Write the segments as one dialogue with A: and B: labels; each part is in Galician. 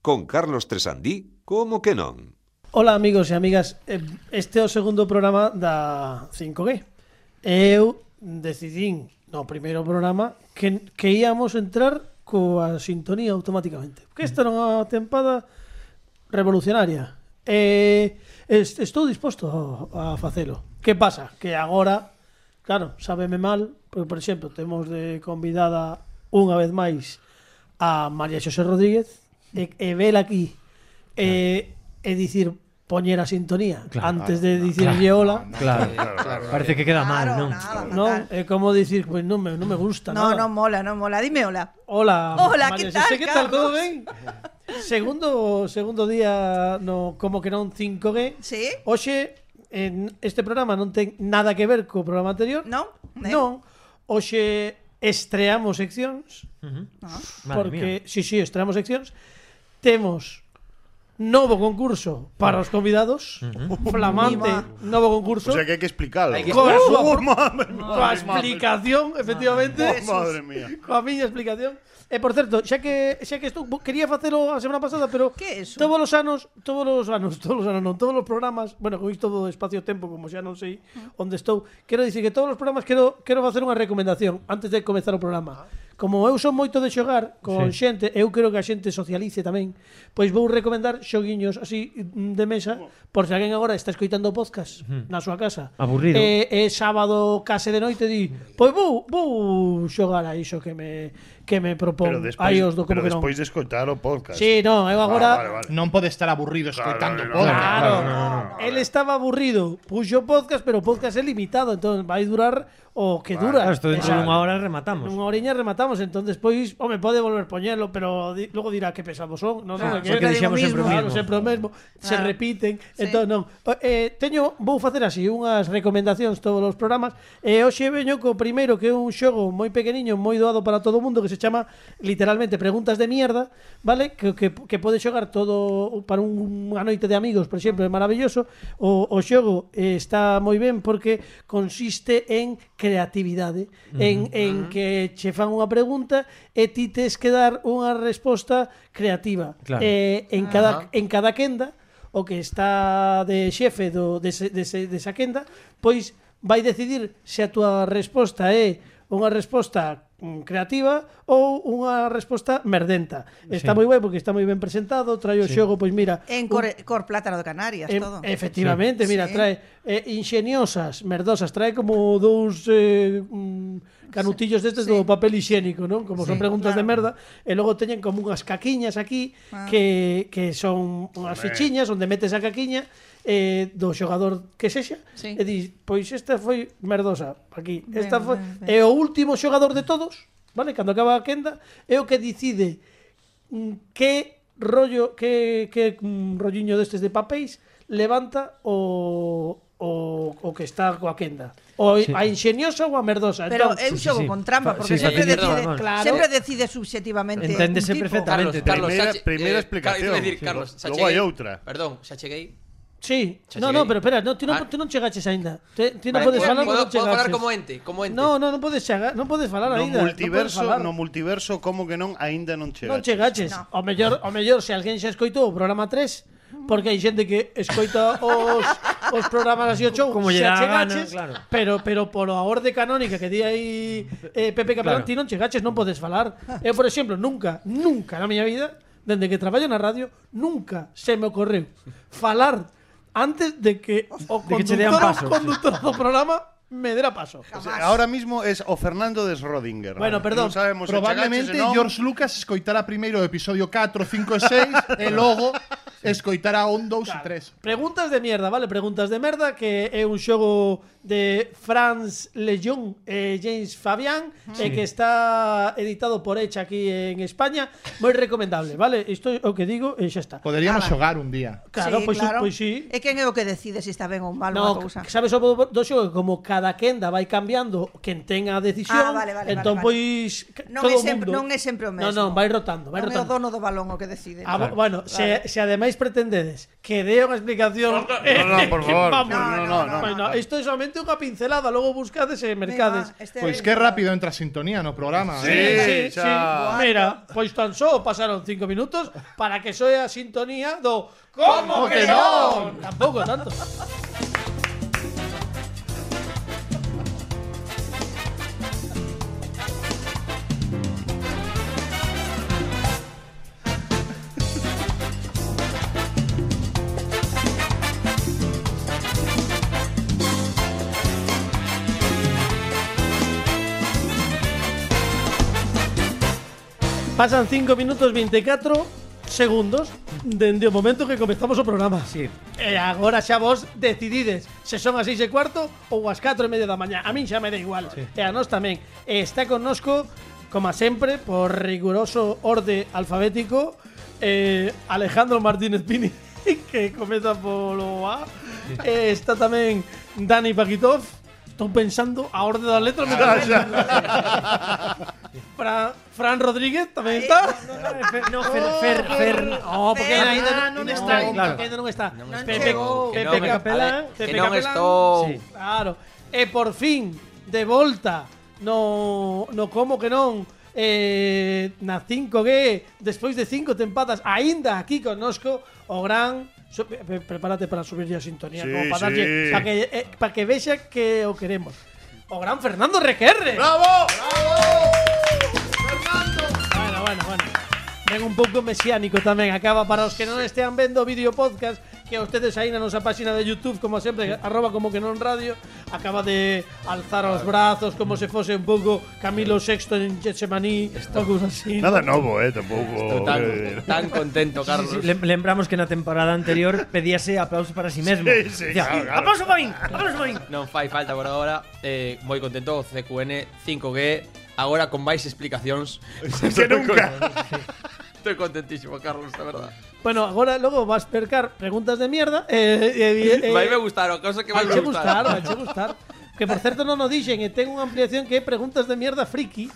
A: Con Carlos Tresandí, como que non?
B: Ola amigos e amigas, Eh, este é o segundo programa da 5G. Eu decidín no primeiro programa que, que íamos entrar coa sintonía automáticamente. Porque esta era unha tempada revolucionaria. E est- estou disposto a, a facelo. Que pasa? Que agora, claro, sábeme mal, porque, por exemplo, temos de convidada unha vez máis a María Xosé Rodríguez e, e vela aquí e, e dicir poñer a sintonía
C: Claro.
B: antes de dicirlle hola.
C: Claro, parece que queda mal,
D: Claro,
C: non?
D: nada,
B: Non,
D: fatal.
B: é como dicir, pois non me, non me gusta
D: No,
B: nada.
D: no mola, no mola. Dime hola.
B: Hola.
D: Hola,
B: María
D: que tal,
B: Xosé, que tal,
D: Carlos?
B: todo ben? Segundo segundo día no como que non 5G.
D: Sí?
B: Hoxe en este programa non ten nada que ver co programa anterior.
D: Non? Eh?
B: Non. Hoxe estreamos seccións
C: Ujú.
D: No.
C: Madre
B: porque si, si, estreamos seccións. Temos novo concurso para os convidados. Flamante novo concurso.
E: O sea que hay que explicarlo.
F: Hay que
B: Coa
F: explicar.
B: súa
E: ¡Oh,
B: pro-
E: madre,
B: Coa
E: madre, madre,
B: explicación, efectivamente.
E: oh, madre mía.
B: Coa miña explicación. E por certo, xa que xa que estou quería facelo a semana pasada, pero
D: Que é iso?
B: todos os anos, todos os anos, todos os anos, non, todos os programas, bueno, con isto do espacio-tempo, como xa non sei onde estou, quero dicir que todos os programas quero quero facer unha recomendación antes de comezar o programa. Como eu son moito de xogar con
C: Sí.
B: xente, eu creo que a xente socialice tamén, pois vou recomendar xoguiños así mm, de mesa, por se alguén agora está escoitando o podcast na súa casa.
C: Aburrido.
B: Eh, é, é sábado case de noite di, pois vou, vou xogar a iso que me que me
E: Pero
B: propón.
E: despois,
B: Aí os do como
E: pero
B: que non.
E: despois de escoitar o podcast.
B: Sí, no, eu
E: Ah,
B: agora
E: vale, vale.
F: Non pode estar aburrido escoitando
E: Claro,
F: podcast.
B: Claro,
C: no, no,
B: Él estaba aburrido, puxo podcast, pero o podcast é limitado, entón vai durar o que dura.
C: Claro, isto Ah, dentro
B: Esa-
C: dunha hora rematamos.
B: Nunha horiña rematamos, entón despois, home, pode volver poñelo, pero di, logo dirá que pesados son, non sei
D: Claro,
B: que.
D: Sempre
C: Porque dixemos
D: digo
C: sempre o
B: Claro,
C: mismo.
B: sempre o mesmo, se
D: Claro.
B: repiten,
D: Sí.
B: entón non. O- Eh, teño vou facer así unhas recomendacións todos os programas. E eh, hoxe veño co primeiro que é un xogo moi pequeniño, moi doado para todo o mundo que se chama literalmente preguntas de mierda, vale? Que que que pode xogar todo para un, unha noite de amigos, por exemplo, é maravilloso. O o xogo eh, está moi ben porque consiste en creatividade, en en que che fan unha pregunta e ti tes que dar unha resposta creativa.
C: Claro.
B: Eh, eh, en cada en cada quenda o que está de xefe do dese, dese, desa quenda, pois vai decidir se a túa resposta é unha resposta mm, creativa ou unha resposta merdenta. Está
C: Sí.
B: moi guai porque está moi ben presentado, trae o xogo, pois mira, un-
D: En cor, cor plátano de Canarias,
B: Em-
D: todo.
B: Efectivamente,
D: Sí.
B: mira,
D: Sí.
B: trae eh, ingeniosas, merdosas, trae como dous eh, mm, canutillos destes
D: Sí.
B: do papel higiénico, non? Como son
D: Sí,
B: preguntas de
D: claro.
B: merda, e logo teñen como unhas caquiñas aquí
D: Ah.
B: que, que son unhas
E: Hombre.
B: fichiñas onde metes a caquiña eh, do xogador que sexa
D: Sí.
B: e dis, pois esta foi merdosa aquí, esta
D: Ben,
B: foi
D: ben, ben.
B: e o último xogador de todos, vale? Cando acaba a quenda, é o que decide mm, que rollo que que mm, rolliño destes de papéis levanta o o, o que está coa quenda. O
C: Sí.
B: a ingeniosa ou a merdosa.
D: Pero
B: entón,
D: é un
C: Sí, sí,
D: xogo
C: sí.
D: con trampa,
C: Fa-
D: porque
C: sí,
D: sempre,
C: facilita,
D: decide,
C: vamos.
B: Claro.
D: sempre decide subxectivamente
C: Enténdese
D: un tipo.
C: perfectamente.
F: Carlos,
C: Exactamente.
F: Carlos,
E: Primeira- primeira
F: xa che- eh, Carlos, iba a decir,
E: explicación.
F: Carlos, xa
E: Logo hai
F: cheguei-
E: outra.
F: Perdón, xa cheguei.
B: sí,
F: Xa
B: no,
F: cheguei.
B: no, pero espera, no, ti non,
F: Ah.
B: ti non chegaches aínda. Ti, ti non
F: Vale,
B: podes
F: podo-
B: falar,
F: podo-
B: non
F: podo falar
B: chegaches.
F: como ente, como ente.
B: No, no, non podes chegar, non podes falar
E: No
B: aínda.
E: multiverso,
B: non podes falar.
E: no multiverso, como que non aínda non chega.
B: Non chegaches.
D: No.
B: O mellor, o mellor se alguén xa escoitou o programa 3, porque hai xente que escoita os, os programas así o show,
C: Como lle
B: xa
C: dá a
B: chegaches,
C: gana, claro.
B: pero, pero polo a orde canónica que di aí eh, Pepe Capelán,
C: Claro.
B: ti non chegaches, non podes falar. Eu, por exemplo, nunca, nunca na miña vida, dende que traballo na radio, nunca se me ocorreu falar antes de que o
C: De que che dean
B: conductor,
C: paso,
B: o
C: sí.
B: conductor do programa me dera paso.
E: O sea, ahora mismo es o Fernando de Schrödinger.
B: Bueno, perdón.
E: Non sabemos se
F: Probablemente
E: chegaches, se non.
F: George Lucas escoitará primeiro o episodio 4, 5 e 6 e logo escoitará un, 2 e 3.
B: Preguntas de mierda, vale? Preguntas de merda que é un xogo de Franz Lejeune e James Fabian e que está editado por Echa aquí en España, moi recomendable, vale? Isto é o que digo e xa está.
F: Poderíamos
D: Ah,
F: xogar un día.
B: Claro,
D: sí,
B: pois
D: claro.
B: pois sí.
D: É quen é o que decide se está ben ou mal
B: No,
D: unha cousa.
B: sabes o bo- do xogo que como cada quenda vai cambiando quen ten a decisión,
D: Ah, vale, vale,
B: entón
D: vale,
B: pois ca-
D: Non
B: todo
D: é
B: o
D: sempre-
B: mundo-
D: non é sempre o
B: Non,
D: mesmo.
B: non, vai rotando, vai
D: Non é o
B: rotando.
D: dono do balón o que decide.
B: Ah, bo- bueno, se, se ademais pretendedes que dé unha explicación
E: No, no, por favor.
B: Vamos.
E: No, no, no, no.
B: Bueno, esto es solamente solamente unha pincelada, logo buscades e mercades.
E: eh,
D: Venga, este-
F: Pois que Pues rápido entra a sintonía no programa.
E: Sí.
F: eh.
E: xa.
B: Mira, pois tan só pasaron cinco minutos para que soe a sintonía do Como que non? Tampouco tanto. Pasan 5 minutos 24 segundos dende o momento que comezamos o programa.
C: Sí.
B: E agora xa vos decidides se son as 6 e cuarto ou as 4 e media da mañá. A min xa me da igual. E a nós tamén. E está connosco, como sempre, por riguroso orde alfabético, eh, Alejandro Martínez Pini, que comeza polo A. E está tamén Dani Paquitov. Estou pensando a orde das letras. me
E: Xa, xa.
B: Fra- Fran Rodríguez tamén está. Oh,
C: No, Fer, Fer, Fer.
B: No, porque
D: Fer,
B: ainda
D: ah,
B: non,
D: non
B: está,
D: está,
B: claro.
C: claro.
B: ainda non está.
D: Non
B: Pepe,
D: chegou.
B: Pepe
G: Que non,
B: Capelán,
G: a ver,
B: Pepe
G: que non
B: Capelán.
G: estou.
C: Sí.
B: Claro. E por fin de volta no no como que non eh, na 5G despois de cinco tempadas aínda aquí connosco o gran so- pe- pe- prepárate para subir a sintonía
E: Sí,
B: como para
E: sí.
B: darlle para que eh, para que vexa que o queremos. O gran Fernando Requerre.
E: ¡Bravo!
B: Bueno, bueno, bueno. Ven un pouco mesiánico tamén Acaba para os que non estean vendo o vídeo podcast Que ustedes aí na nosa páxina de Youtube Como sempre, arroba como que non radio Acaba de alzar os brazos Como se fose un pouco Camilo VI en Getsemaní Ou cousa así
E: Nada novo, eh,
C: Oh,
E: tampouco.
G: Tan,
E: quero dicir.
G: tan contento, Carlos.
C: Sí, lem- Lembramos que na temporada anterior pedíase aplauso para si mesmo.
E: Sí, sí,
C: Dicía,
E: claro, claro.
C: Aplauso para min, aplauso para min.
G: Non fai falta por agora eh, Moi contento o CQN 5G Agora con máis explicacións
E: Que nunca.
G: Estoy contentísimo, Carlos, la verdad
B: Bueno, agora logo vas percar preguntas de mierda eh, eh, eh, eh,
G: Vai me gustaron, cosa que vai
B: Vaiche
G: me
B: gustar,
G: gustaron
B: vaiche gustar Que por certo non o dixen E ten unha ampliación que é preguntas de mierda friki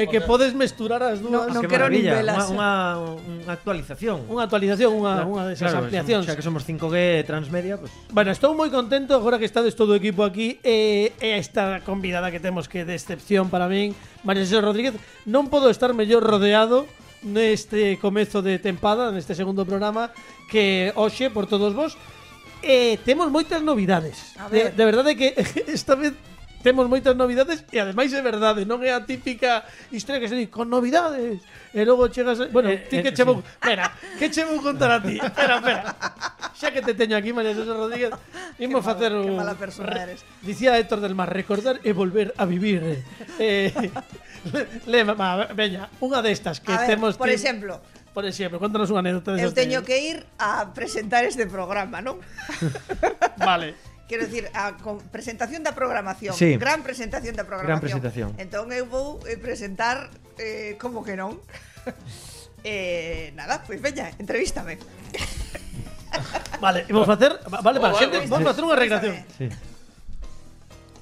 B: E que podes mesturar as dúas
D: No, no.
C: Ah, Qué
D: quero nin
C: maravilla,
D: velas.
C: Unha, unha, unha actualización.
B: Unha actualización, unha,
C: Claro,
B: unha desas
C: claro, pues,
B: ampliacións
C: Xa que somos 5G e transmedia, pues,
B: Bueno, estou moi contento agora que estades todo o equipo aquí e, e esta convidada que temos que de excepción para min, María José Rodríguez, non podo estar mellor rodeado neste comezo de tempada, neste segundo programa que hoxe por todos vos. E temos moitas novidades.
D: A
B: De,
D: ver.
B: de verdade que esta vez temos moitas novidades e ademais é verdade, non é a típica historia que se di con novidades e logo chegas, a- bueno,
C: Eh,
B: ti que
C: eh,
B: che vou, espera, que che vou contar a ti? Espera, espera. Xa que te teño aquí, María José Rodríguez, imos
D: Qué mal-
B: facer
D: qué
B: un...
D: mala persona eres.
B: Dicía Héctor del Mar, recordar e volver a vivir. Eh, le, ma, veña, unha destas que
D: A ver,
B: temos...
D: por
B: ti-
D: exemplo,
B: Por exemplo, contanos unha anécdota
D: eu
B: desas
D: teño
B: teñas.
D: que ir a presentar este programa, non?
B: Vale.
D: Quero dicir, a con- presentación da programación,
C: Sí.
D: gran presentación da programación.
C: Gran presentación.
D: Entón eu vou eh, presentar eh, como que non. eh, nada, pois veña, entrevístame.
B: Vale, imos facer... Vale, para
G: Oh,
B: xente,
G: vale.
B: vamos facer unha recreación.
C: sí.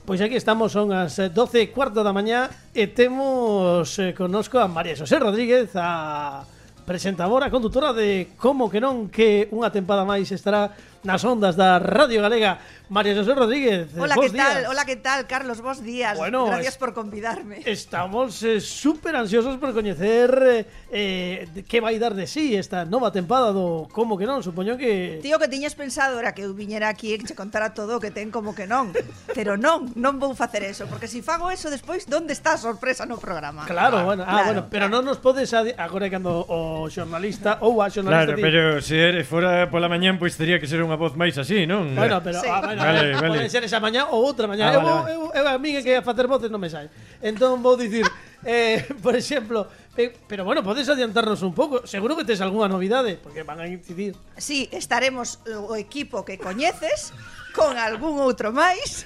B: Pois aquí estamos, son as eh, 12 e cuarto da mañá e temos eh, connosco a María José Rodríguez, a presentadora, condutora de Como que non que unha tempada máis estará nas ondas da Radio Galega. María José Rodríguez, eh,
D: Hola,
B: bos
D: que tal?
B: días.
D: Hola, que tal, Carlos? Bos días.
B: Bueno,
D: Gracias
B: es-
D: por convidarme.
B: Estamos eh, super ansiosos por coñecer eh, eh, que vai dar de sí esta nova tempada do Como que non, supoño que...
D: Tío, que tiñes pensado era que eu viñera aquí e que che contara todo o que ten como que non Pero non, non vou facer eso Porque se fago eso despois, onde está a sorpresa no programa?
B: Claro, bueno, ah,
D: claro.
B: bueno, pero non nos podes adi- agora é cando o xornalista ou a xornalista
C: Claro,
B: di-
C: pero se eres fora pola mañán, pois teria que ser unha voz máis así, non?
B: Bueno, pero
D: Sí.
B: ah, bueno,
C: Vale,
B: eh,
C: vale.
B: pode ser esa mañá ou outra mañá. eu,
C: Ah, vale,
B: vou-
C: vale.
B: eu, eu a mí que a facer voces non me sai. Entón vou dicir, eh, por exemplo, pe- pero bueno, podes adiantarnos un pouco. Seguro que tes algunha novidade, porque van a incidir.
D: Sí, estaremos o equipo que coñeces Con algún outro máis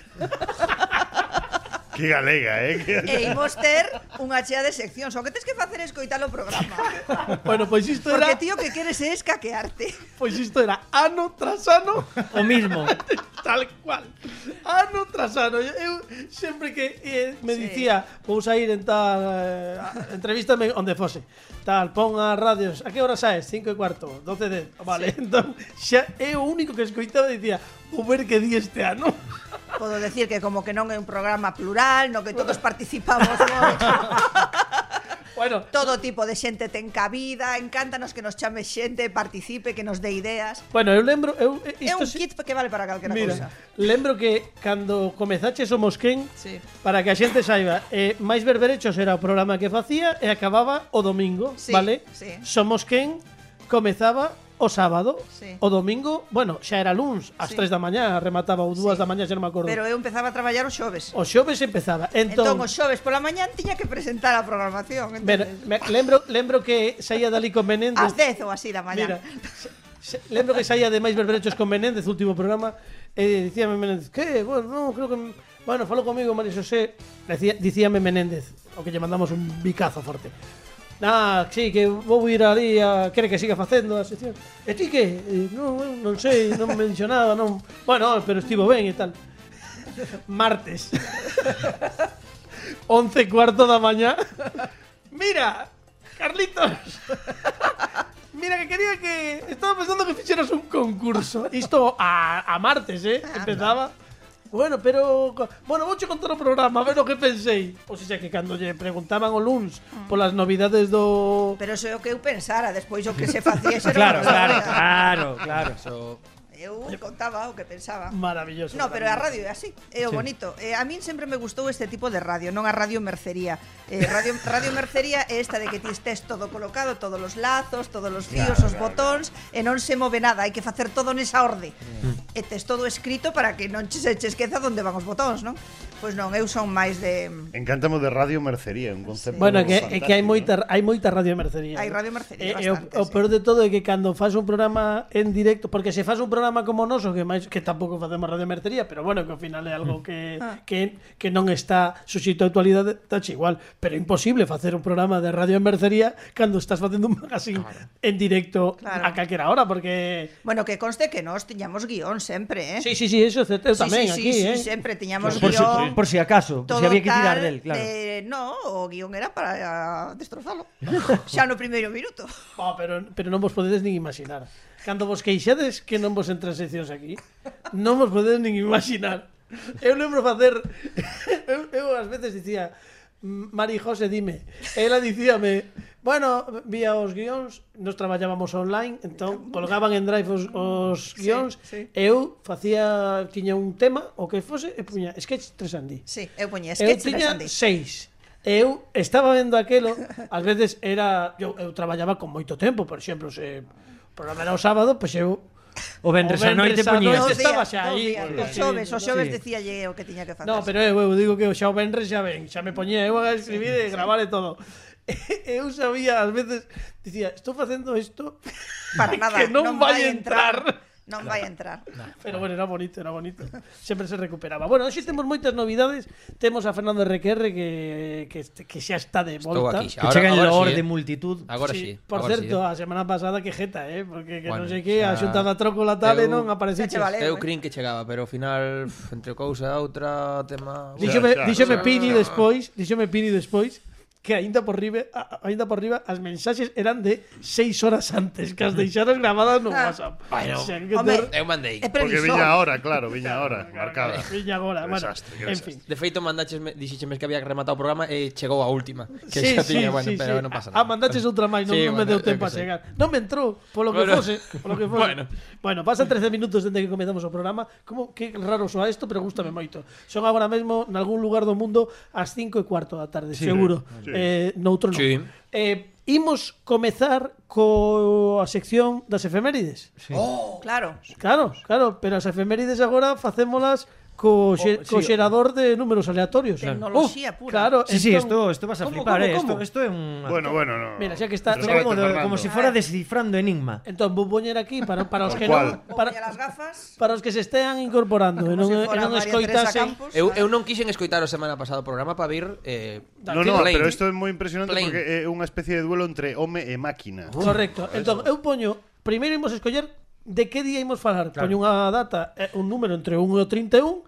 E: Que galega, eh. Que...
D: E imos ter unha chea de seccións O que tens que facer é escoitar o programa
B: Bueno, pois isto era,
D: Porque tío que queres é escaquearte
B: pois isto era ano tras ano,
C: O mismo.
B: tal cual. Ano tras ano, eu sempre que eh, me
D: Sí.
B: dicía, vou sair en tal eh, a- entrevístame onde fose. Tal, pon a radios, a que hora saes? 5 e cuarto, 12
D: Ah,
B: de... Vale, entón, xa é o único que escoitaba e dicía, vou ver que di este ano.
D: Podo decir que como que non é un programa plural, no que todos participamos moito.
B: Bueno,
D: Todo tipo de xente ten cabida, encántanos que nos chame xente, participe, que nos dé ideas.
B: bueno, eu lembro, eu eh,
D: É
B: isto
D: un
B: sí-
D: kit que vale para calquera cousa.
B: Mira, lembro que cando comezaches o Mosquén
D: Sí.
B: Para que a xente saiba, eh, máis berberechos era o programa que facía e acababa o domingo,
D: Sí,
B: vale?
D: sí.
B: Somos quen comezaba o sábado,
D: Sí.
B: o domingo, bueno, xa era luns, ás
D: Sí.
B: 3 da mañá, remataba ou 2
D: Sí.
B: da mañá, xa non me acordo.
D: Pero eu empezaba a traballar os xoves.
B: O xoves empezaba. Oh, Entón,
D: Entón, os xoves pola mañán tiña que presentar a programación.
B: ver,
D: entonces,
B: me, lembro, lembro que saía dali con Menéndez.
D: Ás 10 ou así da
B: Mira,
D: mañán.
B: se- se- lembro que saía de máis berberechos con Menéndez, último programa, e dicíame Menéndez, que, bueno, no, creo que... Bueno, falou comigo María Xosé, decía, dicíame Menéndez, o que lle mandamos un bicazo forte. Ah, sí, que vou ir ali a... Quere que siga facendo a sección. E ti que? Eh, non, eu non sei, non me dixo nada, non... Bueno, pero estivo ben e tal. Martes. 11 cuarto da mañá. Mira, Carlitos. Mira, que quería que. Estaba pensando que ficheras un concurso. Isto a, a martes, ¿eh? Empezaba. Bueno, pero. co- Bueno, vouche contar o programa, a ver o que pensei. O sea, que cando lle preguntaban o luns
D: Mm.
B: polas novidades do.
D: Pero eso é o que eu pensara, despois o que se facía xa era
C: Claro,
D: unha
C: claro,
D: barbaridade.
C: claro, claro.
G: Eso-
D: Eu contaba o que pensaba.
B: Maravilloso.
D: No, pero a radio é así, é
B: Mm. Sí.
D: o bonito. Eh, a min sempre me gustou este tipo de radio, non a radio mercería. Eh, radio, radio mercería é esta de que ti estés todo colocado, todos os lazos, todos os fíos, os botóns, e non eh, se move nada, hai que facer todo nesa orde.
B: Mm.
D: E tes todo escrito para que non che- se che esqueza onde van os botóns, non? Pois non, eu son máis de...
E: Encántame de Radio Mercería, un concepto.
B: Bueno, que, é
E: fantástico,
B: que hai
E: ¿no?
B: moita, hai moita radio mercería.
D: Hai
B: eh.
D: radio mercería,
B: E- e o-
D: bastante,
B: o,
D: sí.
B: peor de todo é que cando faz un programa en directo, porque se faz un programa como o noso, que máis que tampouco facemos radio mercería, pero bueno, que ao final é algo que
D: Ah.
B: que, que non está suxito a actualidade, tache igual, pero é imposible facer un programa de radio mercería cando estás facendo un magazine en directo
D: Claro.
B: a calquera hora, porque
D: Bueno, que conste que nós tiñamos guión sempre, eh?
B: Sí, sí, sí, eso é certo, eu
D: Sí,
B: tamén
D: sí,
B: aquí,
D: sí,
B: eh.
D: sí, sempre tiñamos
C: Por si,
D: guión.
C: por si acaso, por
D: Todo
C: si había que tirar
D: tal
C: del, claro.
D: de- no, o guión era para ah, destrozalo. Xa no primeiro minuto.
B: Oh, pero, pero non vos podedes nin imaginar. Cando vos queixades que non vos entran seccións aquí, non vos podedes nin imaginar. Eu lembro facer... Eu, eu ás veces dicía... "M- Mari José, dime. Ela dicíame... Bueno, vía os guións, nos traballábamos online, entón colgaban en Drive os, os guións,
D: sí.
B: eu facía, tiña un tema, o que fose, e puña Sketch 3 Andy.
D: Sí, eu poñía
B: Eu
D: sketch
B: tiña
D: de Sandy.
B: seis. Eu estaba vendo aquelo, ás veces era... Eu, eu traballaba con moito tempo, por exemplo, se o programa era o sábado, pois eu...
C: O vendres
B: o
C: a noite
B: vendres á
C: poñías.
B: noite
D: Dos
B: Estaba
D: días,
B: xa
D: dos
B: aí.
D: días.
B: Pois
D: Os xoves, os xoves
C: Sí.
D: dicíalle o que tiña que facer.
B: No, pero eu, eu digo que o xa o Benres xa ven, xa me poñía eu a escribir e gravar e todo. Eu sabía, ás veces, dicía, estou facendo isto,
D: para nada,
B: que non vai entrar.
D: Non vai entrar.
B: pero bueno, era bonito, era bonito. Sempre se recuperaba. Bueno, hoxe temos moitas novidades, temos a Fernando RQR que, que, que xa está de
G: Estou
B: volta.
G: aquí xa.
C: Que chega en loor
G: sí,
C: de
G: eh.
C: multitud.
G: Agora
B: Sí,
G: sí. eh.
B: Por
G: agora
B: certo,
G: sí,
B: a semana pasada que jeta, eh, porque que non
G: Bueno,
B: sei que a
G: xa-
B: xunta da trócola tal e
G: Eu-
B: non apareciches.
D: Xa che vale.
G: eh. Eu crin que chegaba, pero ao final, pf, entre cousa e outra, tema...
B: Díxome,
E: Xa, xa,
B: díxome
E: xa.
B: Pini despois, díxome Pini despois que aínda por riba, a- aínda por riba as mensaxes eran de 6 horas antes que as deixaras gravadas no
D: Ah.
B: WhatsApp. Bueno,
D: Home,
G: Eu mandei.
D: É
E: Porque
D: previso.
E: viña ahora, claro, viña ahora, marcada.
B: Viña agora,
E: Qué
B: bueno,
E: desastre, qué
B: en
E: desastre.
B: fin.
G: De feito, mandaches, dixíxemes que había rematado o programa e chegou a última. Que
B: Sí,
G: xa
B: sí,
G: tiña, bueno,
B: sí, sí.
G: pero non pasa
B: Ah, Ah,
G: nada.
B: mandaches outra máis, non,
G: Sí,
B: non me
G: bueno,
B: deu
G: eu
B: tempo
G: que
B: a
G: sei.
B: chegar. Non me entrou, polo que
G: Bueno.
B: fose, polo que fose.
G: Bueno.
B: bueno, pasan 13 minutos dende que comezamos o programa. Como que raro soa isto, pero gústame moito. Son agora mesmo nalgún lugar do mundo ás 5 e cuarto da tarde, seguro.
E: Sí.
B: Eh, noutro non.
G: Sí.
B: Eh, imos comezar coa sección das efemérides.
D: Claro.
B: Claro, claro, pero as efemérides agora facémolas co, xe,
C: Oh, sí,
B: co
C: o-
B: xerador de números aleatorios.
D: Tecnoloxía
B: Uf,
D: pura.
B: Claro,
C: Sí, sí,
B: entón-
C: esto, esto vas a
B: ¿Cómo,
C: flipar,
B: cómo,
C: eh.
B: cómo?
C: Esto, esto es un.
E: Bueno, bueno, no.
B: Mira, xa que está-
E: Pero
C: esto
B: Pero
C: es como,
E: vete,
C: de-
E: Fernando.
C: como si fuera descifrando enigma.
B: Entón vou poñer aquí para para os
E: Por
B: que
E: cual.
B: non para
D: Para as gafas.
B: para os que se estean incorporando e non
D: como se
B: e
D: fora
B: non
D: María Teresa
B: escoitasen.
D: Campos,
G: Eu,
D: ah.
G: eu non quixen escoitar o semana pasado o programa para vir... Eh,
E: No, no,
G: plain.
E: pero esto es muy impresionante
G: Plain.
E: porque é unha especie de duelo entre home e máquina.
B: Correcto. Entón eu poño, primeiro imos escoller de que día imos falar. Poño unha data, eh, un número entre 1 e o 31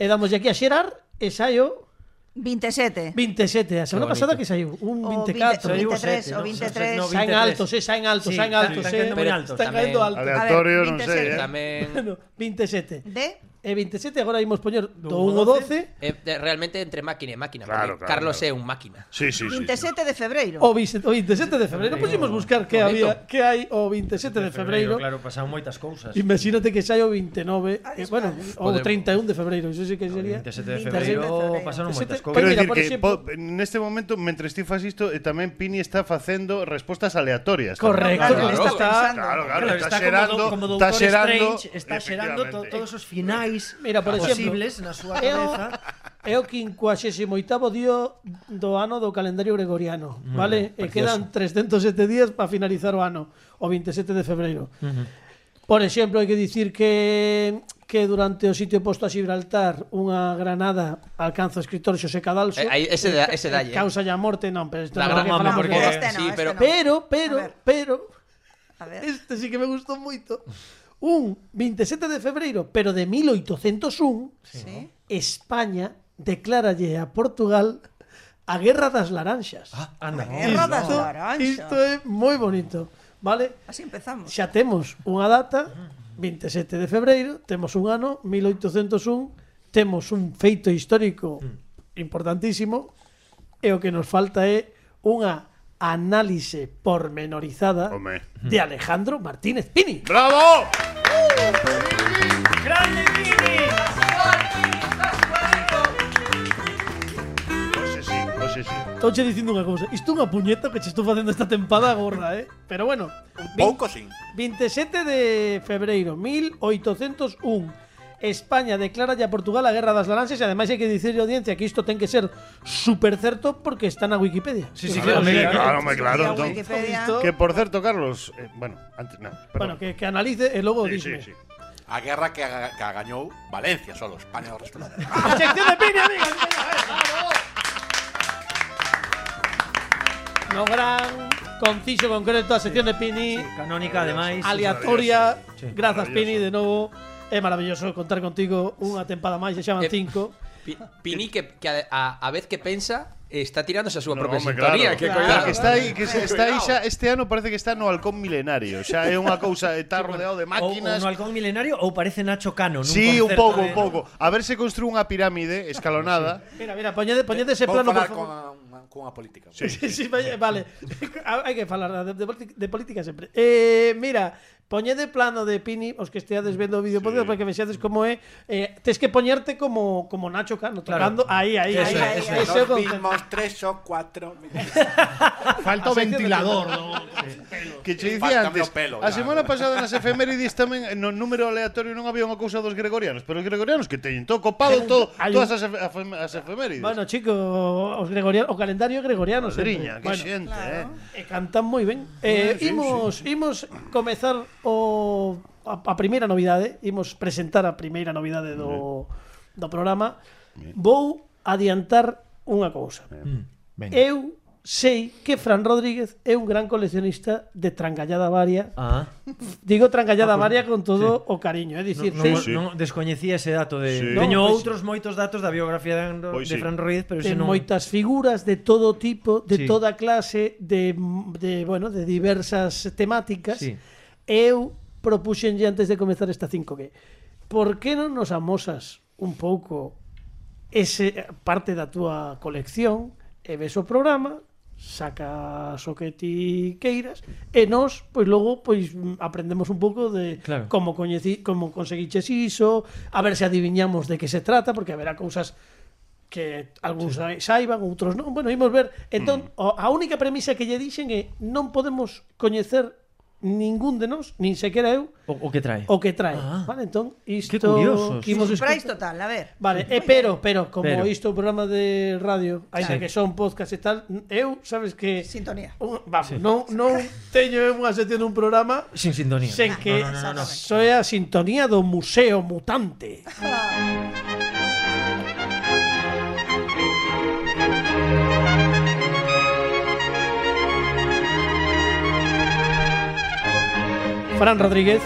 B: e damos aquí a xerar e saio
D: 27.
B: 27, a semana
G: bonito.
B: pasada que saiu un
D: O
B: 24.
D: Oh,
B: Saen
D: vinte- 23, o 23.
C: No,
B: altos, eh, saen altos,
C: Sí,
B: saen
C: están-
B: altos,
C: están
B: eh.
C: caendo muy altos
B: Están
G: tamén.
B: caendo altos.
E: Aleatorio, non
D: 27.
E: sei, eh.
G: Tamén
B: Bueno, 27.
D: ¿De?
B: E 27 agora imos poñer do
C: Do
B: 1 ao 12
G: eh, de- realmente entre máquina e máquina.
E: Claro,
G: porque
E: claro,
G: Carlos é
E: claro.
G: un máquina.
E: Sí, sí, sí. sí.
D: 27 de febreiro.
B: o 20 o 27 de febreiro. Puximos buscar que
G: Bonito.
B: había que hai o 27 de febreiro.
C: Claro, pasaron moitas cousas.
B: Imagínate que saia o 29, eh, bueno, o
G: Podemos.
B: 31 de febreiro, iso sí que sería.
C: 27 de
D: 27 de
C: febreiro
D: febreiro.
C: pasaron moitas
B: 27
E: Pero
B: Pois
C: cousas.
B: mira,
E: decir
B: por
E: que
B: exemplo-
E: po- neste momento, mentre estive fas isto, eh, tamén Pini está facendo respostas aleatorias. tamén.
B: Correcto,
G: Claro,
B: esta está
E: Claro, claro,
C: Claro,
E: está,
C: está
E: xerando,
C: como, do, como
E: está
C: Doutor
E: xerando,
C: Strange, está xerando to,
E: efectivamente.
C: todos os finais
B: Mira, por exemplo,
C: posibles na súa
B: é o-
C: cabeza.
B: É o 58º día do ano do calendario gregoriano, vale? e quedan 307 días para finalizar o ano, o 27 de febreiro. Por exemplo, hai que dicir que que durante o sitio posto a Gibraltar unha granada alcanza o escritor Xosé Cadalso.
G: Eh, aí, ese da- ese dalle.
B: Causa a morte, non, pero isto
G: La
B: non é
G: gran
B: que
C: mama,
B: falamos
C: porque-
B: de-
D: Este no,
G: sí,
D: este
G: pero-
D: no.
B: Pero, pero,
D: A ver,
B: pero
D: a ver.
B: Este sí que me gustou moito. Eh. Un 27 de febreiro, pero de 1801,
D: Sí.
B: España decláralle a Portugal a Guerra das Laranxas.
C: Anda.
D: Guerra das
B: Isto-
D: Laranxas.
B: Ah, Isto é moi bonito, vale?
D: Así empezamos.
B: Xa temos unha data, 27 de febreiro, temos un ano, 1801, temos un feito histórico importantísimo, e o que nos falta é unha análise pormenorizada
E: Home.
B: de Alejandro Martínez Pini.
E: ¡Bravo!
C: ¡Uh! Grande Vini!
E: Hoxe sí, hoxe sí.
B: Estou dicindo unha cousa, isto é unha puñeta que che estou facendo esta tempada gorda, eh? Pero bueno, vin-
H: Pouco sin.
B: 27 de febreiro 1801 España declara a Portugal a Guerra das Laranxas e ademais hai que dicirle a audiencia que isto ten que ser super certo porque está na Wikipedia.
C: Sí, sí,
E: Claro,
C: claro, mira,
E: claro,
C: mira.
E: home, claro.
D: Mira,
E: entón.
D: Wikipedia.
B: Isto-
E: Que por certo, Carlos, eh, bueno, antes, no,
B: bueno,
E: perdón.
B: que, que analice e logo
E: sí,
B: dime.
E: sí, sí.
H: A guerra que, aga- que gañou Valencia solo, España do resto da guerra.
B: A sección de Pini, amigas. No gran conciso concreto a sección de
C: eh.
B: Pini.
C: Canónica, ademais.
B: aleatoria.
C: Sí.
B: Grazas,
E: Maravilloso.
B: Pini, de novo. É maravilloso contar contigo unha tempada máis, xa van
G: Eh,
B: cinco.
G: Pi- Pini que, que a, a- a vez que pensa eh, está tirándose a súa
E: No,
G: propia
E: home,
G: sintonía.
E: claro.
G: Que
E: Claro,
G: cuidado.
E: que está aí, que se- está aí xa, este ano parece que está no halcón milenario, xa é unha cousa, está rodeado de
C: Ou, ou
E: máquinas.
C: no halcón milenario ou parece Nacho Cano. nun
E: Sí, un
C: concerto
E: pouco,
C: de-
E: un pouco. A ver se construí unha pirámide escalonada.
B: Mira, mira, poñede, poñede ese Este
H: Vou
B: plano, por
H: falar
B: favor.
H: con, a- con a política.
B: Sí, sí, vai- vale. Ha- Hai que falar de, de, politi- de política sempre. Eh, mira, poñede plano de Pini os que esteades vendo o vídeo podcast para que vexades como é. Eh, tes que poñerte como como Nacho Cano tocando aí, aí, aí.
C: Eso é,
B: aí, ese é
C: eso
B: o
H: Nos
B: concepto.
H: vimos tres ou cuatro.
F: Falta o ventilador, ¿no?
E: Que che dicía
H: Fáltame
E: antes,
H: o pelo,
E: a
H: ya.
E: semana pasada nas efemérides tamén no número aleatorio non había unha cousa dos gregorianos, pero os gregorianos que teñen todo copado, todo,
B: hai
E: todas
B: un-
E: as, efe- afem- as efemérides.
B: Bueno, chico, os gregorianos, o calendario gregoriano
E: Madriña, que
B: sempre. Bueno,
E: xente,
B: E
E: eh.
B: cantan moi ben. Eh,
E: Sí, sí,
B: imos, imos comezar o a, a primeira novidade, imos presentar a primeira novidade do do programa. Vou adiantar unha cousa.
C: Mm. Venga.
B: Eu sei que Fran Rodríguez é un gran coleccionista de trangallada varia.
C: Ah,
B: Digo
E: Ah,
B: trangallada varia con todo o cariño, é dicir,
C: non,
B: sei
E: sí.
C: non descoñecía ese dato de
E: Sí.
B: No,
C: Teño
B: pois-
C: outros moitos datos da biografía de, Fran Ro-
E: Pois sí.
C: de Fran Ruiz, pero
B: de
C: ese non
B: moitas figuras de todo tipo, de
C: Sí.
B: toda clase, de, de bueno, de diversas temáticas.
C: Sí.
B: Eu propuxenlle antes de comezar esta 5G. Por que non nos amosas un pouco ese parte da túa colección e ves o programa, sacas o que ti queiras e nós, pois logo, pois mm, aprendemos un pouco de
C: Claro.
B: como coñeci, como conseguiches iso, a ver se adiviñamos de que se trata, porque haberá cousas que algúns sí. saiban, outros non. Bueno, imos ver. Entón, mm. a única premisa que lle dixen é non podemos coñecer ningún de nós, nin sequera eu,
C: o, o que trae.
B: o que trae.
C: Ah.
B: Ah. Vale, entón, isto...
C: Que curiosos.
B: que imos
D: Surprise
B: escoitar-
D: total, a ver.
B: Vale, e pero, pero, como
C: Pero.
B: isto é un programa de radio, aínda
C: Sí.
B: que son podcast e tal, eu, sabes que...
D: Sintonía.
B: Un, vamos, non, non teño eu unha sección dun programa
C: Sin sintonía.
B: sen que
C: No, no, no, no, no.
B: soe a sintonía do Museo Mutante.
D: Ah,
B: Fran Rodríguez,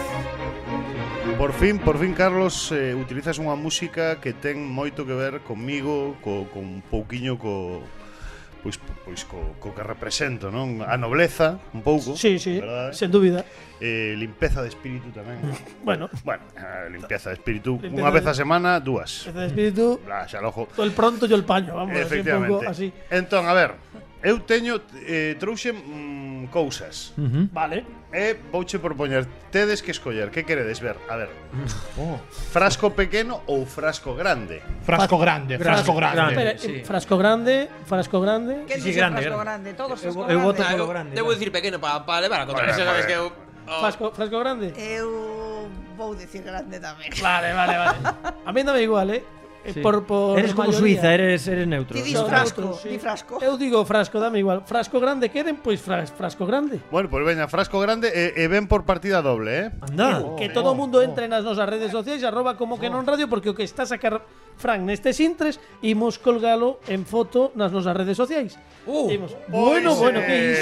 E: Por fin, por fin, Carlos, eh, utilizas unha música que ten moito que ver comigo, co, con un pouquiño co pois pois co, co que represento, non? A nobleza, un pouco.
B: Sí, sí,
E: verdade?
B: sen dúbida.
E: Eh, limpeza de espírito tamén.
B: Bueno,
E: bueno, eh, limpeza de espírito
B: Limpeza
E: unha vez
B: de-
E: a semana, dúas.
B: ese espíritu,
E: Bla, xa lojo.
B: todo el pronto yo el paño, vamos, así un
E: Efectivamente.
B: pouco así.
E: Entón, a ver, eu teño eh, trouxen mm, cousas.
B: Vale.
E: E vouche propoñer tedes que escoller, que queredes ver? A ver. Oh, Frasco pequeno ou frasco grande?
F: Frasco grande, frasco grande.
B: Espera,
C: Ah, sí.
B: eh, frasco grande, frasco grande.
D: ¿Qué
C: Sí, sí,
D: dice
C: grande,
D: frasco
C: grande.
D: grande? Todos
C: Eu-
D: frasco
C: eu
D: grande.
C: voto por lo grande.
G: Debo decir pequeno para pa levar a contra.
E: Joder,
G: Xa sabes
E: joder.
G: que eu- oh,
B: Frasco, frasco
C: Eh.
B: grande.
D: Eu vou decir grande tamén.
B: Vale, vale, vale. A mí dame igual, eh. Eh,
C: Sí.
B: Por, por
C: eres como
B: mayoría.
C: Suiza, eres, eres neutro.
D: Ti dis
B: No,
D: frasco,
B: neutro, sí.
D: di frasco.
B: Eu digo frasco, dame igual. Frasco grande queden, pois fras- frasco grande.
E: Bueno, pois veña, frasco grande e, e ven por partida doble, eh?
C: Anda.
B: que todo o
E: oh,
B: mundo entre nas nosas redes sociais arroba como que non radio porque o que está a sacar Fran nestes intres imos colgalo en foto nas nosas redes sociais.
G: Uh,
B: Imos, bueno,
E: Pois,
B: bueno,
E: eh,
B: que iso.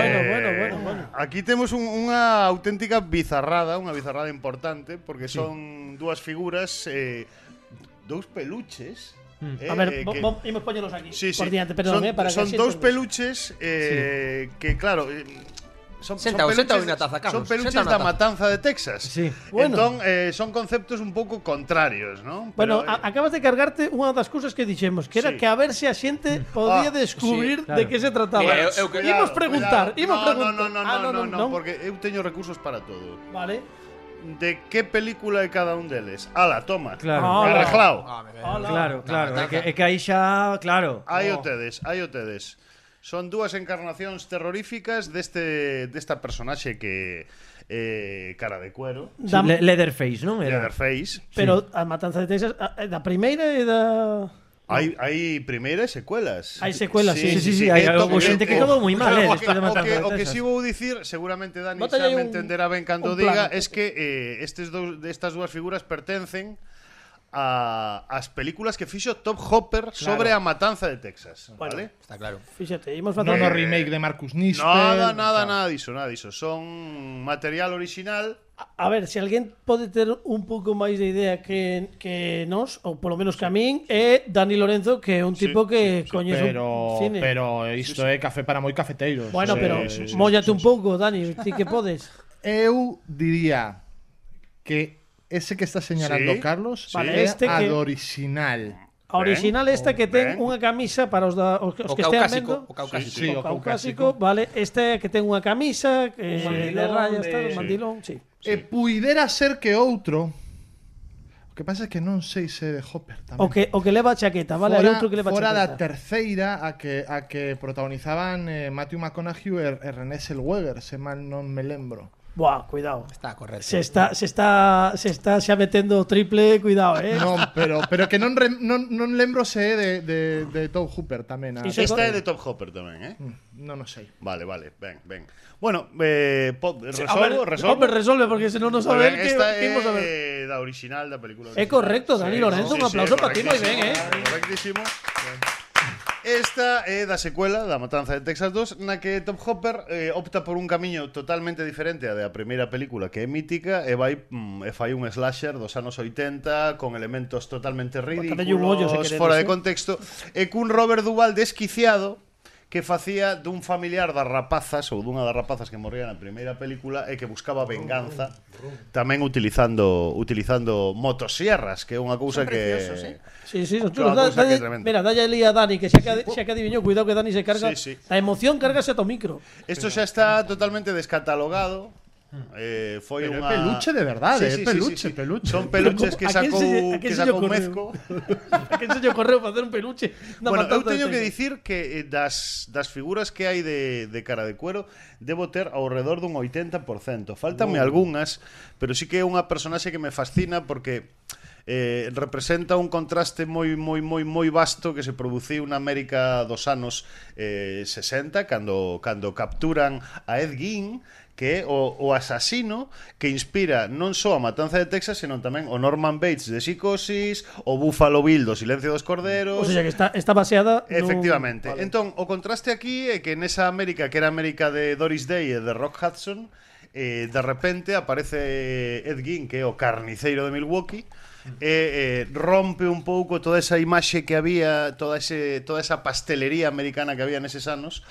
B: Bueno, bueno, bueno, bueno.
E: Aquí temos un, unha auténtica bizarrada, unha bizarrada importante porque son dúas figuras eh, dous peluches. eh,
B: Hmm. A ver,
E: eh,
B: bo,
E: que-
B: bo, imos poñelos aquí
E: Sí, sí.
B: por diante, perdón,
E: son,
B: eh, para que a
E: son
B: xente
E: dos
B: os vexa.
E: peluches eh, que claro, eh, son,
G: Senta,
E: son
G: senta
E: peluches,
G: unha taza, Carlos,
E: son peluches
G: senta unha taza.
E: da matanza de Texas.
C: Sí.
B: Bueno.
E: Entón, eh, son conceptos un pouco contrarios, ¿no?
B: Bueno,
E: Pero, eh,
B: a- acabas de cargarte unha das cousas que dixemos, que era
E: Sí.
B: que a ver se a xente podía
E: Ah, Eh,
B: descubrir
G: sí,
C: claro.
B: de que se trataba.
G: Mira, eu- eu que-
B: imos preguntar,
E: cuidado.
B: imos
E: no,
B: preguntar.
E: No, no, no,
B: Ah,
E: no, no, no,
B: non.
E: porque eu teño recursos para todo.
B: Vale.
E: De que película é cada un deles? Ala, toma.
C: Claro.
B: Hola.
E: Arreglao.
G: Ah.
C: Claro, claro. É que, é que aí xa, claro.
E: Aí
B: Oh.
E: o tedes, aí o tedes. Son dúas encarnacións terroríficas deste desta personaxe que eh, cara de cuero,
C: Sí,
B: Da-
C: le- Leatherface, non era?
E: Leatherface.
B: Pero a Matanza de Texas, a- a- da primeira e da...
E: Hai hai primeira e secuelas.
B: Hai secuelas, sí.
C: Sí, sí, sí,
E: Eh,
C: hai
E: to-
C: algo xente que
E: eh,
C: quedou moi mal, eh,
E: o
C: despois de
E: que- o
C: matar
E: que-
C: a
E: O que si
C: Texas.
E: vou dicir, seguramente Dani
B: Bótalle aí
E: xa me
B: un-
E: entenderá ben
B: un
E: cando diga,
B: plano.
E: es que eh, estes dous destas dúas figuras pertencen a as películas que fixo Top Hopper sobre a matanza de Texas, vale?
G: Está claro.
B: Fíxate, imos
F: No,
B: facer...
F: no remake de Marcus Nisper.
E: Nada, nada, nada diso, nada diso. Son material original.
B: A ver, se alguén pode ter un pouco máis de idea que, que nós, ou polo menos que a min, é Dani Lorenzo, que é un tipo que coñece
F: Pero,
B: un cine.
F: pero isto é café para moi cafeteiros.
B: bueno,
F: Eh,
B: pero
E: sí, sí,
B: móllate un pouco, Dani, ti que podes.
F: eu diría que ese que está señalando
E: Sí.
F: Carlos
B: Vale,
F: é
B: este
F: a
B: que-
F: do original.
B: A original esta que ten
E: ben.
B: unha camisa para os, da, os, os
G: O
B: que estean
G: caucásico.
B: vendo.
G: O caucásico.
F: Sí,
B: o
F: o
B: caucásico, vale. Esta que ten unha camisa eh, de
C: mandilón,
B: rayas,
C: de-
B: tal, un mandilón, sí.
F: E puidera ser que outro. O que pasa é que non sei se é de Hopper tamén.
B: O que, o que leva chaqueta, ah, vale. Hai
F: fora,
B: outro que leva
F: fora da
B: chaqueta.
F: terceira a que a que protagonizaban eh, Matthew McConaughey e, e René Zellweger, se mal non me lembro.
B: Buah, cuidado.
G: Está correcto.
B: Se está, se está, se está xa metendo triple, cuidado, eh.
F: Non, pero pero que non re, non, non lembro se é de de de Tobe Hooper ah. Mm, tamén. A,
B: Iso-
E: Esta é de Top Hopper tamén, eh?
F: non o sei.
E: Vale, vale, ben, ben. Bueno, eh, po-
B: A ver,
E: resolvo, resolvo.
B: Hombre, resolve, porque si no, no
E: Moi
B: saber
E: ben,
B: qué
E: esta é
B: vamos a ver.
E: da original da película.
B: É correcto, Dani Lorenzo, un aplauso para ti, moi ben, eh.
E: Correctísimo. Esta é da secuela da Matanza de Texas 2 na que Top Hopper eh, opta por un camiño totalmente diferente á da primeira película que é mítica e vai mm, e fai un slasher dos anos 80 con elementos totalmente
B: Bótalle un ollo, se
E: ridículos,
B: queredes,
E: fora de
B: eh.
E: contexto e cun Robert Duval desquiciado que facía dun familiar das rapazas ou dunha das rapazas que morría na primeira película e que buscaba venganza tamén utilizando utilizando motosierras, que é unha cousa
D: Son
E: que
D: preciosos, eh.
B: Sí, sí, son
E: Claro,
B: chulos. Da-
E: cosa que
B: dalle-
E: é tremendo.
B: mira, dalle ali a Dani, que xa que, xa que adiviñou, cuidado que Dani se carga.
E: Sí, sí.
B: La emoción cargase a tu micro.
E: Esto xa está totalmente descatalogado.
B: Hmm.
E: Eh, foi
F: Pero é
E: unha...
F: peluche de verdade, é peluche, peluche.
E: Son peluches
B: eh,
E: que
B: ¿A quién
E: sacou,
B: se- a quién
E: que
B: se lle
E: sacou
B: ocurriu?
E: Mezco.
B: que enseño correo para hacer un peluche. Una
E: bueno, eu
B: patata
E: teño
B: de
E: que
B: seca.
E: dicir que eh, das, das figuras que hai de, de cara de cuero debo ter ao redor dun 80%. Faltanme algunhas, pero sí que é unha personaxe que me fascina porque eh, representa un contraste moi moi moi moi vasto que se produciu na América dos anos eh, 60 cando cando capturan a Ed Gein que é o, o asasino que inspira non só a Matanza de Texas, senón tamén o Norman Bates de Psicosis, o Buffalo Bill do Silencio dos Corderos,
B: O sea, que está, está baseada. nun-
E: Efectivamente.
B: Vale.
E: Entón, o contraste aquí é que nesa América que era a América de Doris Day e de Rock Hudson, eh, de repente aparece Ed Gein, que é o carniceiro de Milwaukee, e eh, rompe un pouco toda esa imaxe que había, toda, ese, toda esa pastelería americana que había neses anos,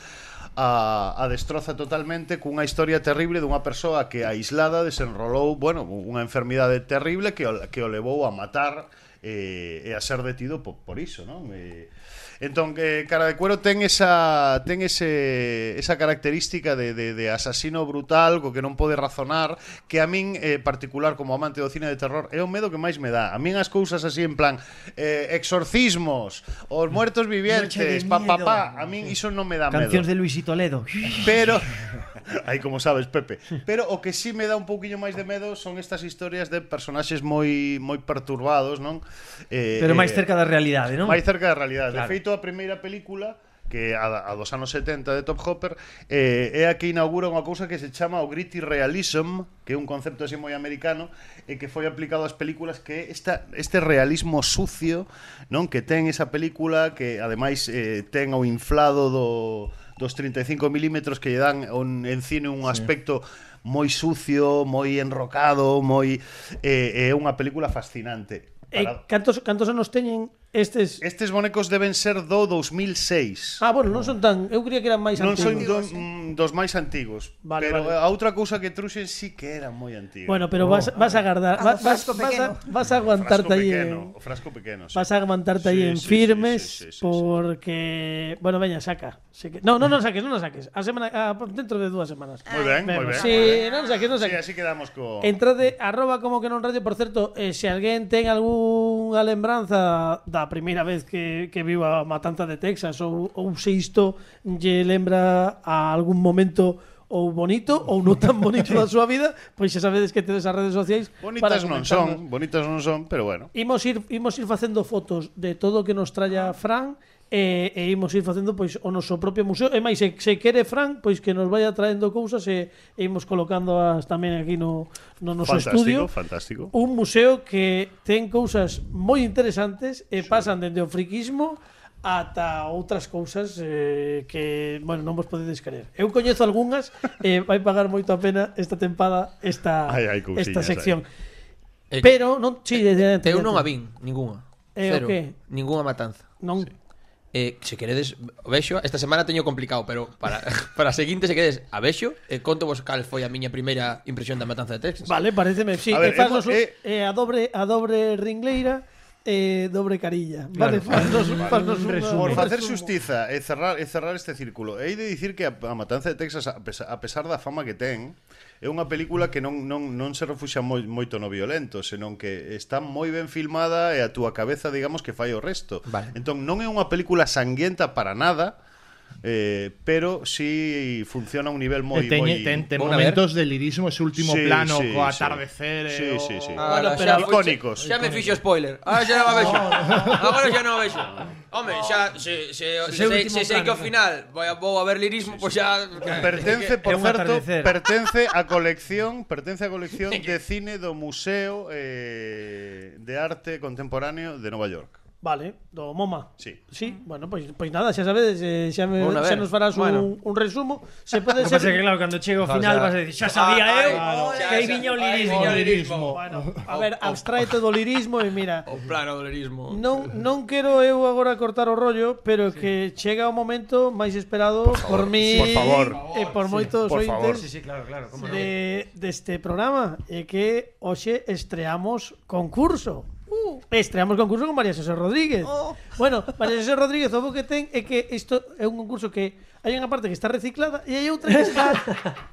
E: a, a destroza totalmente cunha historia terrible dunha persoa que aislada desenrolou, bueno, unha enfermidade terrible que o, que o levou a matar eh, e a ser detido por, por iso, non? Eh, entón, eh, Cara de Cuero ten esa ten ese, esa característica de, de, de asasino brutal co que non pode razonar que a min, eh, particular como amante do cine de terror é o medo que máis me dá a min as cousas así en plan eh, exorcismos, os muertos vivientes
C: Noche de
E: pa, pa,
C: miedo.
E: pa, a min iso non me dá medo
C: Cancións de Luis y Toledo.
E: Pero aí como sabes, Pepe, pero o que sí me dá un pouquiño máis de medo son estas historias de personaxes moi moi perturbados, non? Eh,
C: Pero máis
E: eh,
C: cerca da realidade, non?
E: máis cerca da realidade.
C: Claro.
E: De feito, a primeira película que a, a dos anos 70 de Top Hopper eh, é a que inaugura unha cousa que se chama o gritty realism que é un concepto así moi americano e que foi aplicado ás películas que é esta, este realismo sucio non que ten esa película que ademais eh, ten o inflado do, dos 35 milímetros que lle dan un, en cine un aspecto moi sucio, moi enrocado moi eh, é unha película fascinante
B: Eh,
E: Para-
B: cantos, cantos anos teñen estes...
E: Estes bonecos deben ser do 2006.
B: Ah, bueno, non son tan... Eu creía que eran máis
E: non son
B: antigos.
E: do, mm, dos máis antigos.
B: Vale,
E: pero
B: vale.
E: a outra cousa que truxen sí que era moi antiga.
B: Bueno, pero vas, vas a agardar... Vas, vas,
D: A do frasco
B: vas a,
D: pequeno.
B: vas a
E: o frasco
B: aguantarte eh. aí
E: pequeno,
B: en...
E: o frasco pequeno. sí.
B: Vas a aguantarte ahí
E: Sí,
B: en
E: sí, sí,
B: firmes
E: sí, sí, sí, sí.
B: porque... Bueno, veña, saca. Sí que- No, no, no saques, no nos saques. A semana... a- dentro de dúas semanas.
E: Moi ben, moi
B: Vemos.
E: ben.
B: Sí,
E: moi ben.
B: non saques, non
E: Sí,
B: saques.
E: así quedamos co
B: Entrade arroba como que non radio, por certo, eh, se alguén ten algunha lembranza da primeira vez que, que viu a matanza de Texas ou, ou se isto lle lembra a algún momento ou bonito ou non tan bonito da súa vida, pois xa sabedes que tedes as redes sociais
E: Bonitas non
B: comentarnos.
E: son, bonitas non son, pero bueno.
B: Imos ir, imos ir facendo fotos de todo o que nos tralla Fran e, e imos ir facendo pois o noso propio museo. E máis, se, se quere Fran, pois que nos vaya traendo cousas e, e imos colocando as tamén aquí no, no noso
E: Fantástico,
B: estudio.
E: fantástico.
B: Un museo que ten cousas moi interesantes e pasan dende o friquismo ata outras cousas eh, que, bueno, non vos podedes creer. Eu coñezo algunhas e vai pagar moito a pena esta tempada esta,
E: Ai, hai cousiñas
B: esta
E: aí.
B: sección.
G: Eh,
B: Pero non, si, de, de,
G: Eu non a vin, ninguna.
B: Eh,
G: Cero.
B: o qué?
G: Ninguna matanza.
B: Non.
G: Eh, se queredes, o vexo, esta semana teño complicado, pero para, para a seguinte se queredes a vexo, eh, conto vos cal foi a miña primeira impresión da matanza de Texas.
B: Vale, pareceme, sí,
E: A
B: a
E: ver,
B: ver,
E: hemos- eh,
B: a dobre a dobre ringleira e dobre carilla. Vale,
G: Claro.
B: faznos, faznos
C: Un
B: unha-
C: resumen.
E: Por
B: un eh,
E: facer
B: resumo.
E: xustiza e cerrar, e cerrar este círculo E hei de dicir que a, a Matanza de Texas a pesar, a pesar da fama que ten É unha película que non, non, non se refuxa moi, moito no violento Senón que está moi ben filmada E a túa cabeza, digamos, que fai o resto
G: Vale.
E: Entón non é unha película sanguienta para nada eh, Pero si sí funciona a un nivel moi...
F: Eh, ten,
E: moi...
F: ten- ten
G: Bueno, a ver.
F: momentos de lirismo, ese último
E: Sí,
F: plano,
E: sí,
F: co
E: sí.
F: atardecer. eh,
E: Sí,
F: o-
E: sí, sí.
G: Ahora,
B: Ahora, pero-
G: Ah, xa foi-
E: Icónicos.
G: Xa me fixo spoiler. Ahora xa non a vexo. Agora xa non a vexo. Home, xa se se se,
C: Ese
G: sei-
C: último
G: se sei que ao
C: plano,
G: final vou a, vou a ver lirismo, pois xa eh,
E: Pertence, por
C: un
E: certo,
C: atardecer.
E: pertence a colección, pertence a colección de cine do Museo eh, de Arte Contemporáneo de Nova York.
B: Vale, do MoMA.
E: Sí.
B: Sí, bueno, pois pois nada, xa sabedes, eh, xa me
G: Bueno, a
B: xa
G: ver,
B: nos farás un,
G: bueno.
B: un resumo, se
C: Lo
B: pode
C: que
B: ser.
C: pasa é que, claro, cando chego ao
G: Claro,
C: final
G: xa-
C: vas a decir, xa sabía eh".
G: Ah, claro,
C: eu que
G: xa-
C: aí
G: xa-
C: viña o
G: aí
C: lirismo.
G: viña o
F: lirismo.
B: Bueno, a ver, abstraete do lirismo e mira,
G: O plano do lirismo.
B: non non quero eu agora cortar o rollo, pero é que chega o momento máis esperado por, mí
E: Por favor.
B: e por moitos
E: por
B: ointes.
E: favor.
C: Sí, sí, claro, claro. como non.
B: de, deste programa é que hoxe estreamos concurso. Uh. Estreamos concurso con María José Rodríguez.
D: Oh.
B: Bueno, María José Rodríguez, o bo que ten é que isto é un concurso que hai unha parte que está reciclada e hai outra que está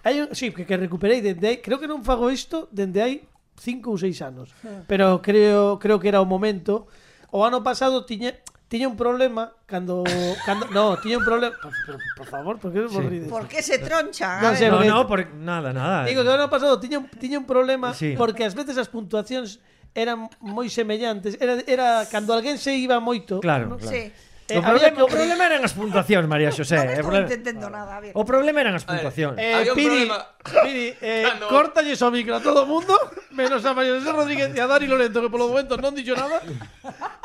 B: hai un, sí, que, que recuperei dende aí, creo que non fago isto dende hai cinco ou seis anos. Pero creo creo que era o momento. O ano pasado tiña tiña un problema cando cando no, tiña un problema, por, por, por favor, por que vos
C: Sí.
B: rides?
D: Por que se tronchan?
B: Non
D: A
B: sei,
D: ver.
C: No,
B: porque-
C: no, por nada, nada.
B: Digo, que o ano pasado tiña, un- tiña un problema
C: Ah, Sí.
B: porque ás veces as puntuacións eran moi semellantes. Era, era cando alguén se iba moito.
C: Claro, claro.
D: Sí.
B: Eh,
C: o,
B: había
C: problema, o
B: que-
C: problema eran as puntuacións, María
D: Non
C: Xosé. eh, o
D: estou
C: problema-
D: entendendo nada, a ver.
C: O problema eran as
G: A ver,
C: puntuacións.
B: Eh,
G: Había un
B: Piri,
G: problema. Ah,
B: Piri eh,
G: Cando-
B: córtalle o micro a todo o mundo, menos a María José Rodríguez e a Dani Lorento, que polo momento non dixo nada,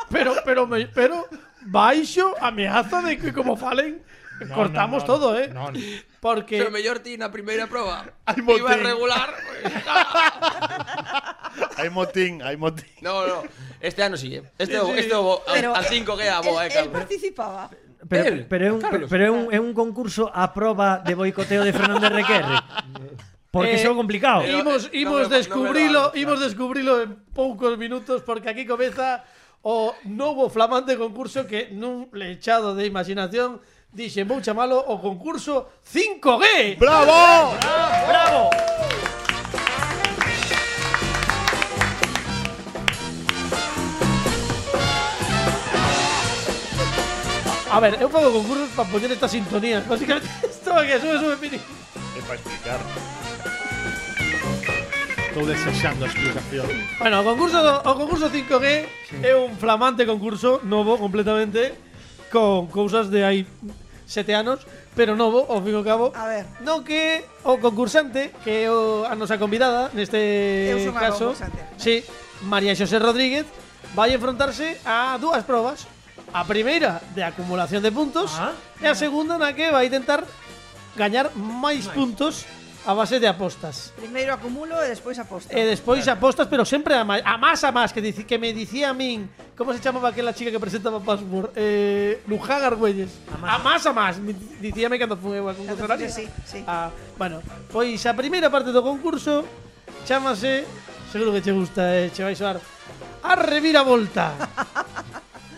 B: pero, pero, me- pero baixo ameaza de que como falen,
F: No,
B: cortamos
F: no, no,
B: todo, eh.
F: no, no.
B: Porque
G: Se o mellor ti na primeira proba
E: Hai
G: Iba
E: motín.
G: regular
E: Hai motín, hai motín.
G: No, no, este ano sí, eh. Este, sí, este o,
D: Pero
G: a 5 que é a
D: él-
G: boa, eh,
D: él
G: cabrón.
D: participaba.
G: Él,
C: Pero, pero, é un,
G: Carlos.
C: pero é, un, é un concurso a proba de boicoteo de Fernández Requerre. Porque
B: Eh,
C: iso é complicado.
G: eh,
B: Imos,
G: No,
B: imos
G: no me-
B: descubrilo,
G: no me lo hagas,
B: imos descubrilo en poucos minutos porque aquí comeza o novo flamante concurso que nun lechado de imaginación dixen vou chamalo o concurso 5G.
E: ¡Bravo!
C: ¡Bravo!
B: A ver, eu fago concursos para poñer esta sintonía. Básicamente, isto é que sube, sube, mini.
E: É para explicar.
F: Estou desexando a explicación.
B: Bueno, o concurso, o concurso 5G é un flamante concurso novo completamente con cousas de hai sete anos, pero novo, ao fin e ao cabo.
D: A ver.
B: No que o concursante, que é o, a nosa convidada neste
D: Eu son a
B: caso,
D: concursante.
B: sí, María Xosé Rodríguez, vai enfrontarse a dúas probas. A primeira de acumulación de puntos
C: Ah.
B: e a segunda na que vai tentar gañar máis puntos a base de apostas.
D: Primeiro acumulo e despois aposto.
B: E despois apostas, pero sempre a máis, a máis a máis que, dici, que me dicía a min, como se chamaba aquela chica que presentaba Password? Eh, Luján Argüelles. A máis a máis, me di- dicíame cando foi a
D: Cando
B: concursar.
D: fixo, sí, sí.
B: Ah, bueno, pois a primeira parte do concurso chamase, seguro que che gusta, eh, che vai soar A reviravolta.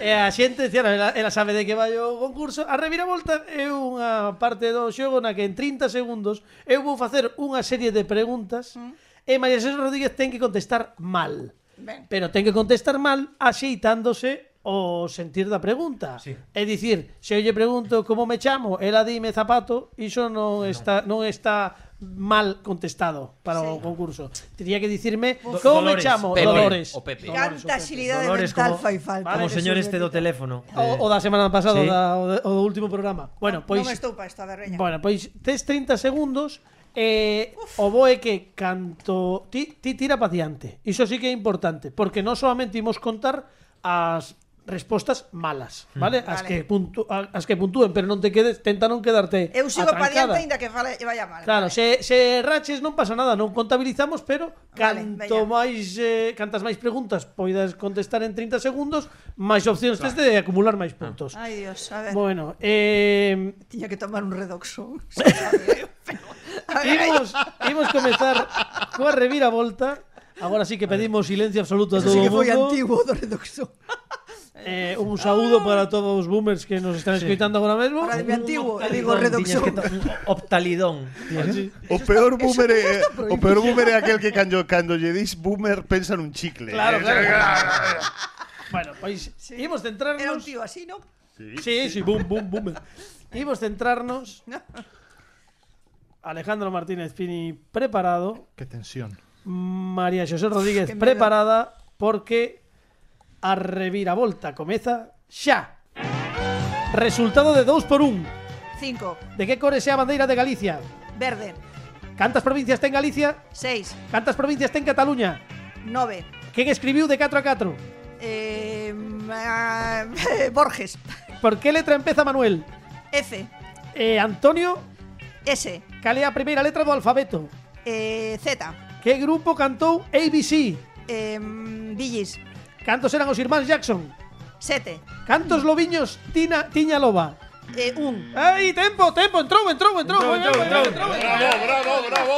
B: Eh, e a xente, claro, ela, ela sabe de que vai o concurso. A reviravolta é unha parte do xogo na que en 30 segundos eu vou facer unha serie de preguntas e María Xosé Rodríguez ten que contestar mal.
D: Ben.
B: Pero ten que contestar mal axeitándose o sentir da pregunta.
C: Sí.
B: É dicir, se eu lle pregunto como me chamo, ela dime zapato, iso non está non está mal contestado para o
D: Sí.
B: concurso. Tería que dicirme
C: Do-
B: como me
C: Dolores,
B: chamo,
G: Pepe,
B: Dolores.
G: o Pepe.
D: Canta xilidade
C: Dolores
D: mental
C: como-
D: fai falta.
C: Como o
B: Vale,
C: señor
B: Jesús,
C: este do
B: vete.
C: teléfono. eh,
B: O, o da semana pasada,
C: Sí.
B: o, da, o, de- o do último programa. Bueno, pues pois
D: Non me estou pa isto, a ver, veña.
B: Bueno, pois tes 30 segundos e o bo é que canto ti, ti tira pa diante. Iso sí que é importante, porque non solamente imos contar as respostas malas, vale? As
D: Vale.
B: que puntu, a- as que puntúen, pero non te quedes, tenta non quedarte
D: Eu sigo pa
B: atrancada.
D: diante aínda que fale e vaya mal.
B: Claro, se,
D: Vale.
B: se raches non pasa nada, non contabilizamos, pero
D: Vale,
B: canto
D: veña.
B: máis eh, cantas máis preguntas poidas contestar en 30 segundos, máis opcións tes de acumular máis puntos.
D: Ai, Dios, a ver.
B: Bueno, eh,
D: Tiña que tomar un redoxo.
B: Imos, imos comezar coa reviravolta. Agora sí que pedimos silencio absoluto a todo
D: Eso
B: o
D: sí que
B: mundo.
D: foi antigo do redoxo.
B: Eh, un saúdo para todos os boomers que nos están escoitando agora mesmo.
D: Para de antigo,
C: optalidón
D: digo
C: tiñas
D: redoxo.
C: que to- un Optalidón.
E: O peor boomer é o peor boomer é aquel que cando cando lle dis boomer pensa nun chicle.
B: Claro,
E: Eh,
B: claro. bueno, pues, pois imos centrarnos.
D: Era un tío así, ¿no?
B: Sí, sí, boom, boom, boom. Imos centrarnos. Alejandro Martínez Pini preparado.
F: Qué tensión.
B: María José Rodríguez
D: Que medo.
B: preparada porque a reviravolta comeza xa. Resultado de 2 por 1.
D: Cinco.
B: De que cores é a bandeira de Galicia?
D: Verde.
B: Cantas provincias ten Galicia?
D: Seis.
B: Cantas provincias ten Cataluña?
D: Nove.
B: Quen escribiu de 4 a 4?
D: Eh, ma- Borges.
B: Por que letra empeza Manuel?
D: F.
B: Eh, Antonio,
D: S.
B: cal é a primeira letra do alfabeto?
D: Eh, Z.
B: Que grupo cantou ABC?
D: Eh, Villis.
B: Cantos eran os irmáns Jackson?
D: Sete.
B: Cantos lobiños tina, tiña loba?
D: Eh, un.
B: ¡Ay, tempo, tempo! ¡Entrou, entrou, entrou! Muy bien, muy bien, entrou, entrou.
H: Bravo, bravo, bravo.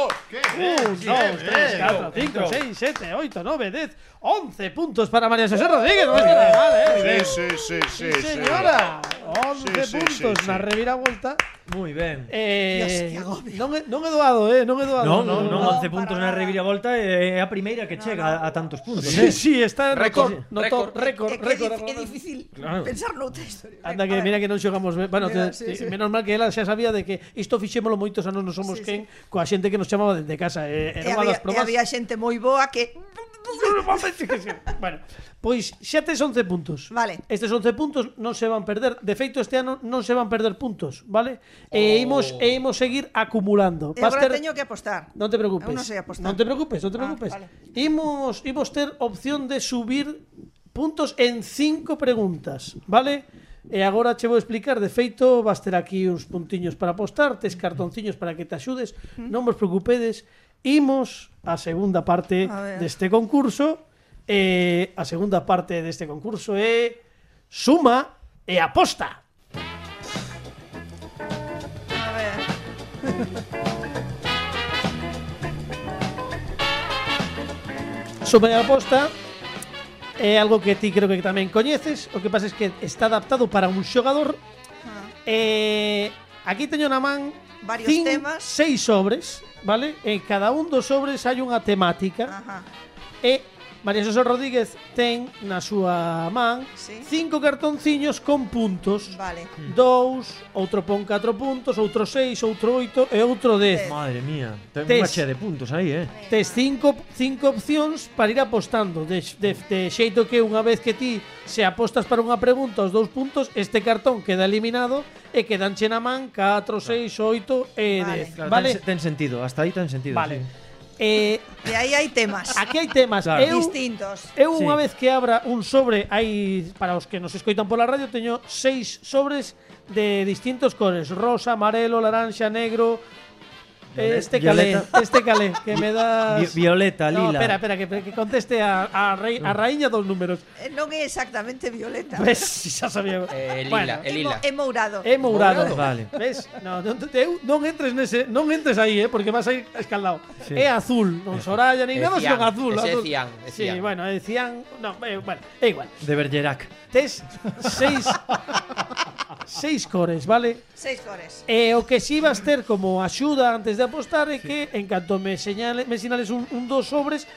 B: Un, dos, tres, cuatro, cinco, seis, siete, ocho, nueve, diez, once puntos para María José Rodríguez. No es que nada mal, ¿eh?
E: Sí, sí, sí, sí.
B: señora. Once
E: Sí, sí,
B: puntos
E: sí, sí.
B: na reviravolta.
C: Muy ben.
B: Eh,
D: Dios, que agobio.
B: non, é- non é doado, eh? Non é doado.
C: No, no,
B: é
C: no,
B: doado.
D: no,
C: 11 puntos
D: para
C: na
D: nada.
C: reviravolta é eh, a primeira que chega a, a tantos puntos.
B: Sí,
C: eh.
B: sí, está no
G: Récord,
B: top, no top, récord,
D: Eh, que
B: récord.
D: dif- é difícil
C: Claro.
D: pensar noutra historia.
B: Anda que
D: Venga, a ver.
B: mira que non xogamos ben. Bueno,
D: Mira,
B: te- te-
D: sí, sí.
B: menos mal que ela xa sabía de que isto fixémolo moitos anos non somos
D: Sí,
B: quen
D: sí.
B: coa xente que nos chamaba desde casa. Eh,
D: E
B: era unha
D: había,
B: das
D: e
B: probas.
D: había xente moi boa que
B: bueno, pois xa tes 11 puntos.
D: Vale.
B: Estes 11 puntos non se van perder. De feito, este ano non se van perder puntos, vale? E imos, e imos seguir acumulando.
D: Oh. e
B: Vas
D: agora
B: ter-
D: teño que apostar.
B: Non te preocupes.
D: Eu non sei apostar.
B: Non te preocupes, non te
D: Ah,
B: preocupes.
D: vale.
B: Imos, imos ter opción de subir puntos en 5 preguntas, vale? E agora che vou explicar, de feito, vas ter aquí uns puntiños para apostar, tes cartonciños para que te axudes, non vos preocupedes, imos a segunda parte
D: A ver.
B: deste concurso, e a segunda parte deste concurso é suma e aposta.
D: A ver.
B: Suma e aposta é algo que ti creo que tamén coñeces, o que pasa é que está adaptado para un xogador
D: Ah.
B: Eh, aquí teño na man
D: Varios temas.
B: seis sobres, vale? En cada un dos sobres hai unha temática
D: Ajá.
B: e María José Rodríguez ten na súa man
D: Sí.
B: cinco cartonciños con puntos.
D: Vale.
B: Dous, outro pon 4 puntos, outro 6, outro 8 e outro 10.
C: Madre mía, ten
B: Tes.
C: unha chea de puntos aí, eh.
B: Tes cinco, cinco opcións para ir apostando de, de, de xeito que unha vez que ti se apostas para unha pregunta os dous puntos Este cartón queda eliminado e quedanche na man 4, 6, 8 e 10
D: Vale.
C: Claro,
B: Vale?
C: ten, ten sentido, hasta aí ten sentido.
B: Vale.
C: sí.
B: Eh,
D: De aí hai temas
B: aquí hai temas
C: Claro.
B: Eu,
D: distintos.
B: eu
C: Sí.
B: unha vez que abra un sobre hai Para os que nos escoitan pola radio Teño seis sobres de distintos cores Rosa, amarelo, laranxa, negro
C: Viole-
B: Este calé,
C: violeta.
B: este calé Que me das...
C: Vi- Violeta,
B: No,
C: lila.
B: espera, espera, que, que conteste a, a, rei- a raíña dos números.
D: Eh, Non é exactamente violeta.
B: Ves, si xa sabía.
G: Eh, lila,
B: Bueno,
G: eh,
D: É mo-
G: lila.
D: é mourado.
B: É mourado.
C: Mourado. Vale.
B: Ves? No, non, te- eu non entres nese, non entres aí, eh, porque vas a ir escaldado.
C: Sí.
B: É azul, non Soraya nin
G: É
B: nada,
G: cian,
B: senón azul,
G: ese é
B: azul.
G: cian, é
B: sí,
G: cian.
B: bueno, é cian, no, é, bueno, é igual.
C: De Bergerac.
B: Tes seis seis cores, vale?
D: Seis cores.
B: E o que si vas ter como axuda antes de apostar é que en canto me señale, me sinales un, un dos sobres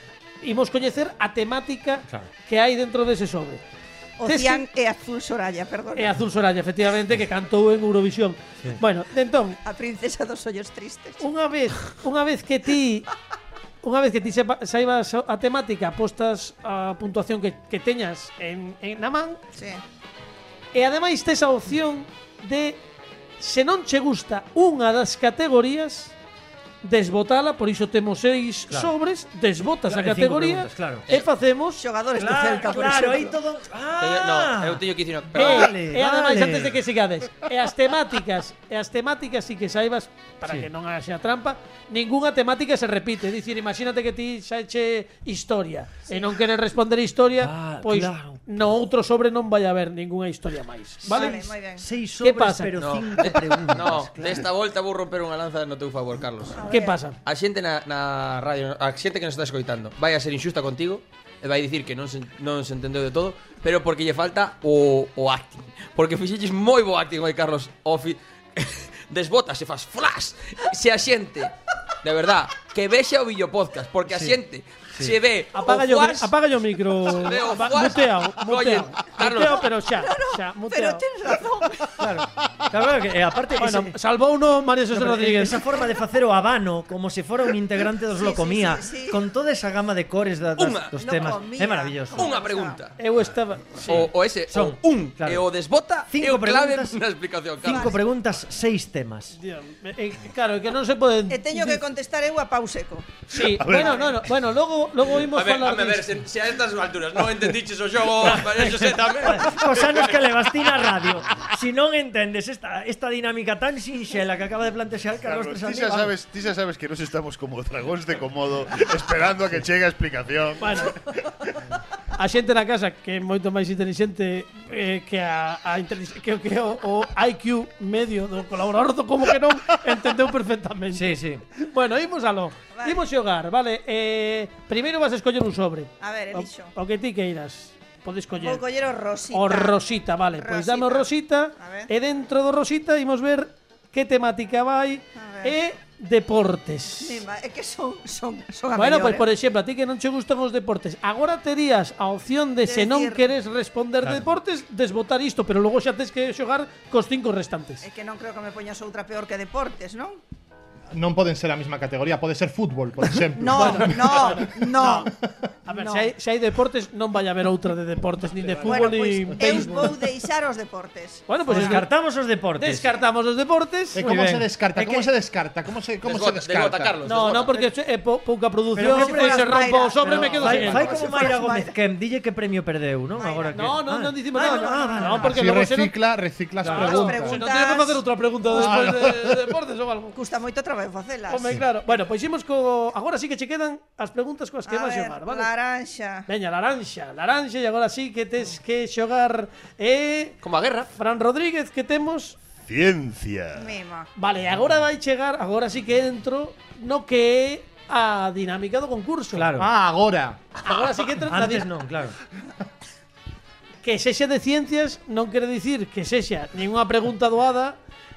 B: imos coñecer a temática
C: Claro.
B: que hai dentro dese sobre.
D: O
B: Tes-
D: cian é azul Soraya, perdón.
B: E Azul Soraya, efectivamente, que cantou en Eurovisión. Bueno, entón,
D: A princesa dos ollos tristes.
B: unha vez, unha vez que ti Unha vez que ti sepa, saibas a temática, apostas a puntuación que, que teñas en, en na man,
D: Sí.
B: E ademais tes a opción de se non che gusta unha das categorías desbotala, por iso temos seis
C: Claro.
B: sobres, desbotas a
C: Claro, e cinco
B: categoría
C: preguntas, claro.
B: e facemos
D: Xogadores do
C: Claro,
D: Celta, por
C: claro, aí
D: exemplo.
C: todo.
G: Teño-
C: Ah.
G: no, eu teño que dicir una...
B: E,
C: Vale,
B: e ademais,
C: vale.
B: antes de que sigades E as temáticas E as temáticas si que saibas Para
C: Sí.
B: que non haxa trampa Ninguna temática se repite É dicir, imagínate que ti xa eche historia E non queres responder historia
C: Ah,
B: Pois
C: claro.
B: no outro sobre non vai haber Ninguna historia máis
D: Vale,
B: Vale?
D: moi ben.
C: Seis
B: Que
C: sobres,
B: pasa?
C: pero
G: No, Eh,
C: cinco preguntas.
G: no, desta volta vou romper unha lanza no teu favor, Carlos.
B: Que pasa?
G: A xente na, na radio, a xente que nos está escoitando, vai a ser injusta contigo, e vai dicir que non se, non se entendeu de todo, pero porque lle falta o, o acting. Porque fixeches moi bo acting hoy, Carlos. O fi... Desbotas e fas flash. Se a xente, de verdad, que vexe o vídeo podcast, porque a xente se ve
B: Apaga
G: o
B: yo,
G: flash,
B: apaga yo micro.
G: Leo,
B: apa-
G: fuas.
B: Muteado,
G: Oye,
B: muteado.
G: Carlos.
B: Muteado, pero xa, xa,
D: Pero
B: muteado.
D: tens razón.
C: Claro, claro que, e aparte,
B: Bueno,
C: ese-
B: salvou uno Mario José
C: No, pero
B: Rodríguez.
C: Esa forma de facer o habano como se fora un integrante dos
D: Sí,
C: Locomía
D: sí, sí, sí.
C: con toda esa gama de cores da, das,
G: Unha.
C: dos
D: No
C: temas
D: comía.
C: é maravilloso.
G: unha pregunta.
B: Eu estaba...
G: O, o ese,
C: Son,
G: o un,
C: claro.
G: e o desbota, e
C: Cinco
G: o clave
C: preguntas,
G: na explicación, Carlos.
C: Cinco preguntas, seis temas.
B: Dios, eh, claro, que non se pode...
D: E teño que contestar eu a pauseco.
B: Sí, bueno, no, no, bueno, logo, logo imos
G: A ver,
B: falar
G: a ver,
B: disto.
G: se, se a estas alturas non entendiches o xogo, María Xosé tamén.
C: Os anos que levastín a radio. Si non entendes esta, esta dinámica tan sinxela que acaba de plantexar Carlos
E: Carlos, ti
C: Tresandi,
E: xa
C: vamos.
E: sabes, ti xa sabes que nos estamos como dragóns de comodo esperando a que chegue a explicación.
B: Bueno, a xente na casa que é moito máis inteligente eh, que a, a intelig- que, que o, o IQ medio do colaborador do como que non entendeu perfectamente.
C: Sí, sí.
B: Bueno, imos aló.
D: Vale.
B: Imos xogar, vale. Eh, primeiro vas a escoller un sobre.
D: A ver,
B: O-
D: elixo.
B: O, que ti queiras. Podes coller.
D: Vou coller o Rosita.
B: O Rosita, vale. Pois dame o Rosita.
D: A ver.
B: E dentro do Rosita imos ver que temática vai.
D: A ver.
B: E deportes.
D: Mima, É que son, son, son a
B: Bueno,
D: mellor,
B: pois por
D: eh.
B: exemplo, a ti que non che gustan os deportes, agora terías a opción de,
D: De
B: se non
D: decir-
B: queres responder deportes, desbotar isto, pero logo xa tes que xogar cos cinco restantes.
D: É que non creo que me poñas outra peor que deportes, non?
F: Non poden ser a mesma categoría, pode ser fútbol, por exemplo.
D: No, no, no.
B: A ver,
D: No.
B: se, hai, se hai deportes, non vai haber outra de deportes, nin de fútbol,
D: bueno, pues,
B: nin
D: pois eu
B: béisbol.
D: vou deixar os deportes.
B: Bueno, pois
C: Ah,
B: pues
C: Pues descartamos os deportes.
B: descartamos os deportes.
F: E como
B: Moi
F: se
B: ben.
F: descarta?
C: É
F: Como
C: que-
F: se descarta? Como se, como
G: Desgota,
F: se descarta?
G: desgota, Carlos.
B: No, no, porque eh, é pou, pouca
D: Pero
B: produción,
D: que
B: pois se
D: fueras
B: rompo o
D: Mayra.
B: sobre e me
D: Pero
B: quedo
C: Fai,
B: sin él.
C: fai como
D: Como se
C: Mayra
D: fueras
C: Gómez,
D: Mayra.
C: que dille que premio perdeu, non?
D: Mayra,
C: Agora que...
B: No, no,
C: Ah.
B: non dicimos nada.
C: Ah, no,
B: No,
C: ah, vale,
B: porque
F: Si
B: logo se non...
F: recicla, recicla as
B: Claro,
F: preguntas.
D: preguntas.
B: Se non teño que facer outra pregunta despois de, de deportes ou algo.
D: Custa moito traballo facelas.
B: Home, claro. Bueno, pois imos co... Agora sí que che quedan as preguntas coas que
D: A
B: vas
D: ver,
B: xogar, vale?
D: laranxa.
B: Veña, laranxa, laranxa, e agora sí que tes que xogar eh,
G: Como a guerra.
B: Fran Rodríguez que temos
E: Ciencia.
D: Mima.
B: Vale, e agora vai chegar, agora sí que entro no que é a dinámica do concurso.
C: Claro.
F: Ah, agora.
B: Agora sí que entra na
C: Antes
B: din-
C: non, claro.
B: que sexa de ciencias non quere dicir que sexa ninguna pregunta doada,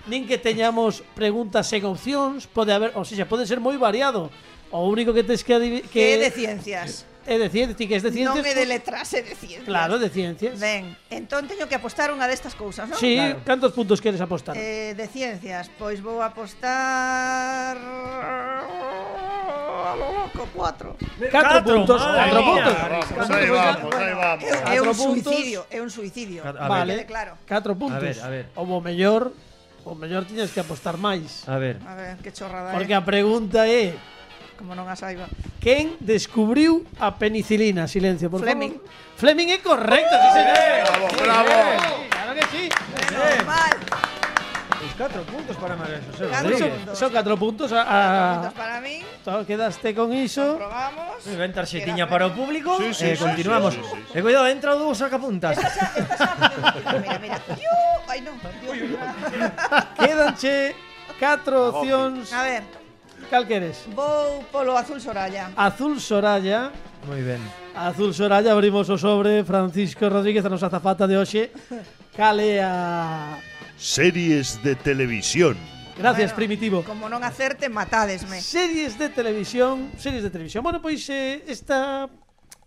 B: nin que teñamos preguntas sen opcións, pode haber, ou sexa, pode ser moi variado. O único que tes que adivi-
D: Que é de
B: que
D: ciencias.
B: é de ciencias, ti que es de ciencias. pues,
D: Non é de letras, é de ciencias.
B: Claro, de ciencias.
D: Ben, entón teño que apostar unha destas cousas, non?
B: Sí,
C: Claro.
B: cantos puntos queres apostar?
D: Eh, de ciencias, pois vou apostar a lo loco 4.
B: Catro puntos,
C: madre
B: catro
C: mía.
B: puntos.
E: Vamos, aí vamos, aí vamos.
D: É un
B: Catro puntos.
D: suicidio, é un suicidio.
C: Cat- a ver.
B: Vale,
D: Quede claro.
B: 4 puntos.
C: A ver, a ver.
B: O bo mellor, o mellor tiñes que apostar máis.
C: A ver.
D: A ver, que chorrada
B: Porque
D: é,
B: a pregunta é
D: como non a saiba.
B: quen descubriu a penicilina? Silencio, por
D: Fleming.
B: favor. Fleming é correcto, sí, señor. Sí,
E: ¡Eh! bravo.
B: sí, Claro que sí.
D: Normal.
C: Os 4 puntos para María José
D: Catro
C: Rodríguez.
D: puntos.
B: Son 4 puntos a, a...
D: Puntos para min.
B: Tó, Quedaste con iso.
D: Probamos.
C: Moi ben tarxetiña para o público.
E: Sí, sí,
C: eh,
E: sí,
C: continuamos.
E: sí, sí, sí, sí.
C: E cuidado, entra o dúo sacapuntas.
D: Esta xa, esta xa, mira, mira. Iu, Ai non. Dios.
B: Quédanche 4 opcións.
D: A ver,
B: Cal queres?
D: vou polo azul Soraya.
B: Azul Soraya.
C: Moi ben.
B: Azul Soraya, abrimos o sobre Francisco Rodríguez, a nosa azafata de hoxe Cale a...
E: Series de televisión.
B: Gracias,
D: Bueno,
B: Primitivo
D: Como non acerte, matádesme.
B: Series de televisión Series de televisión Bueno, pois eh, esta...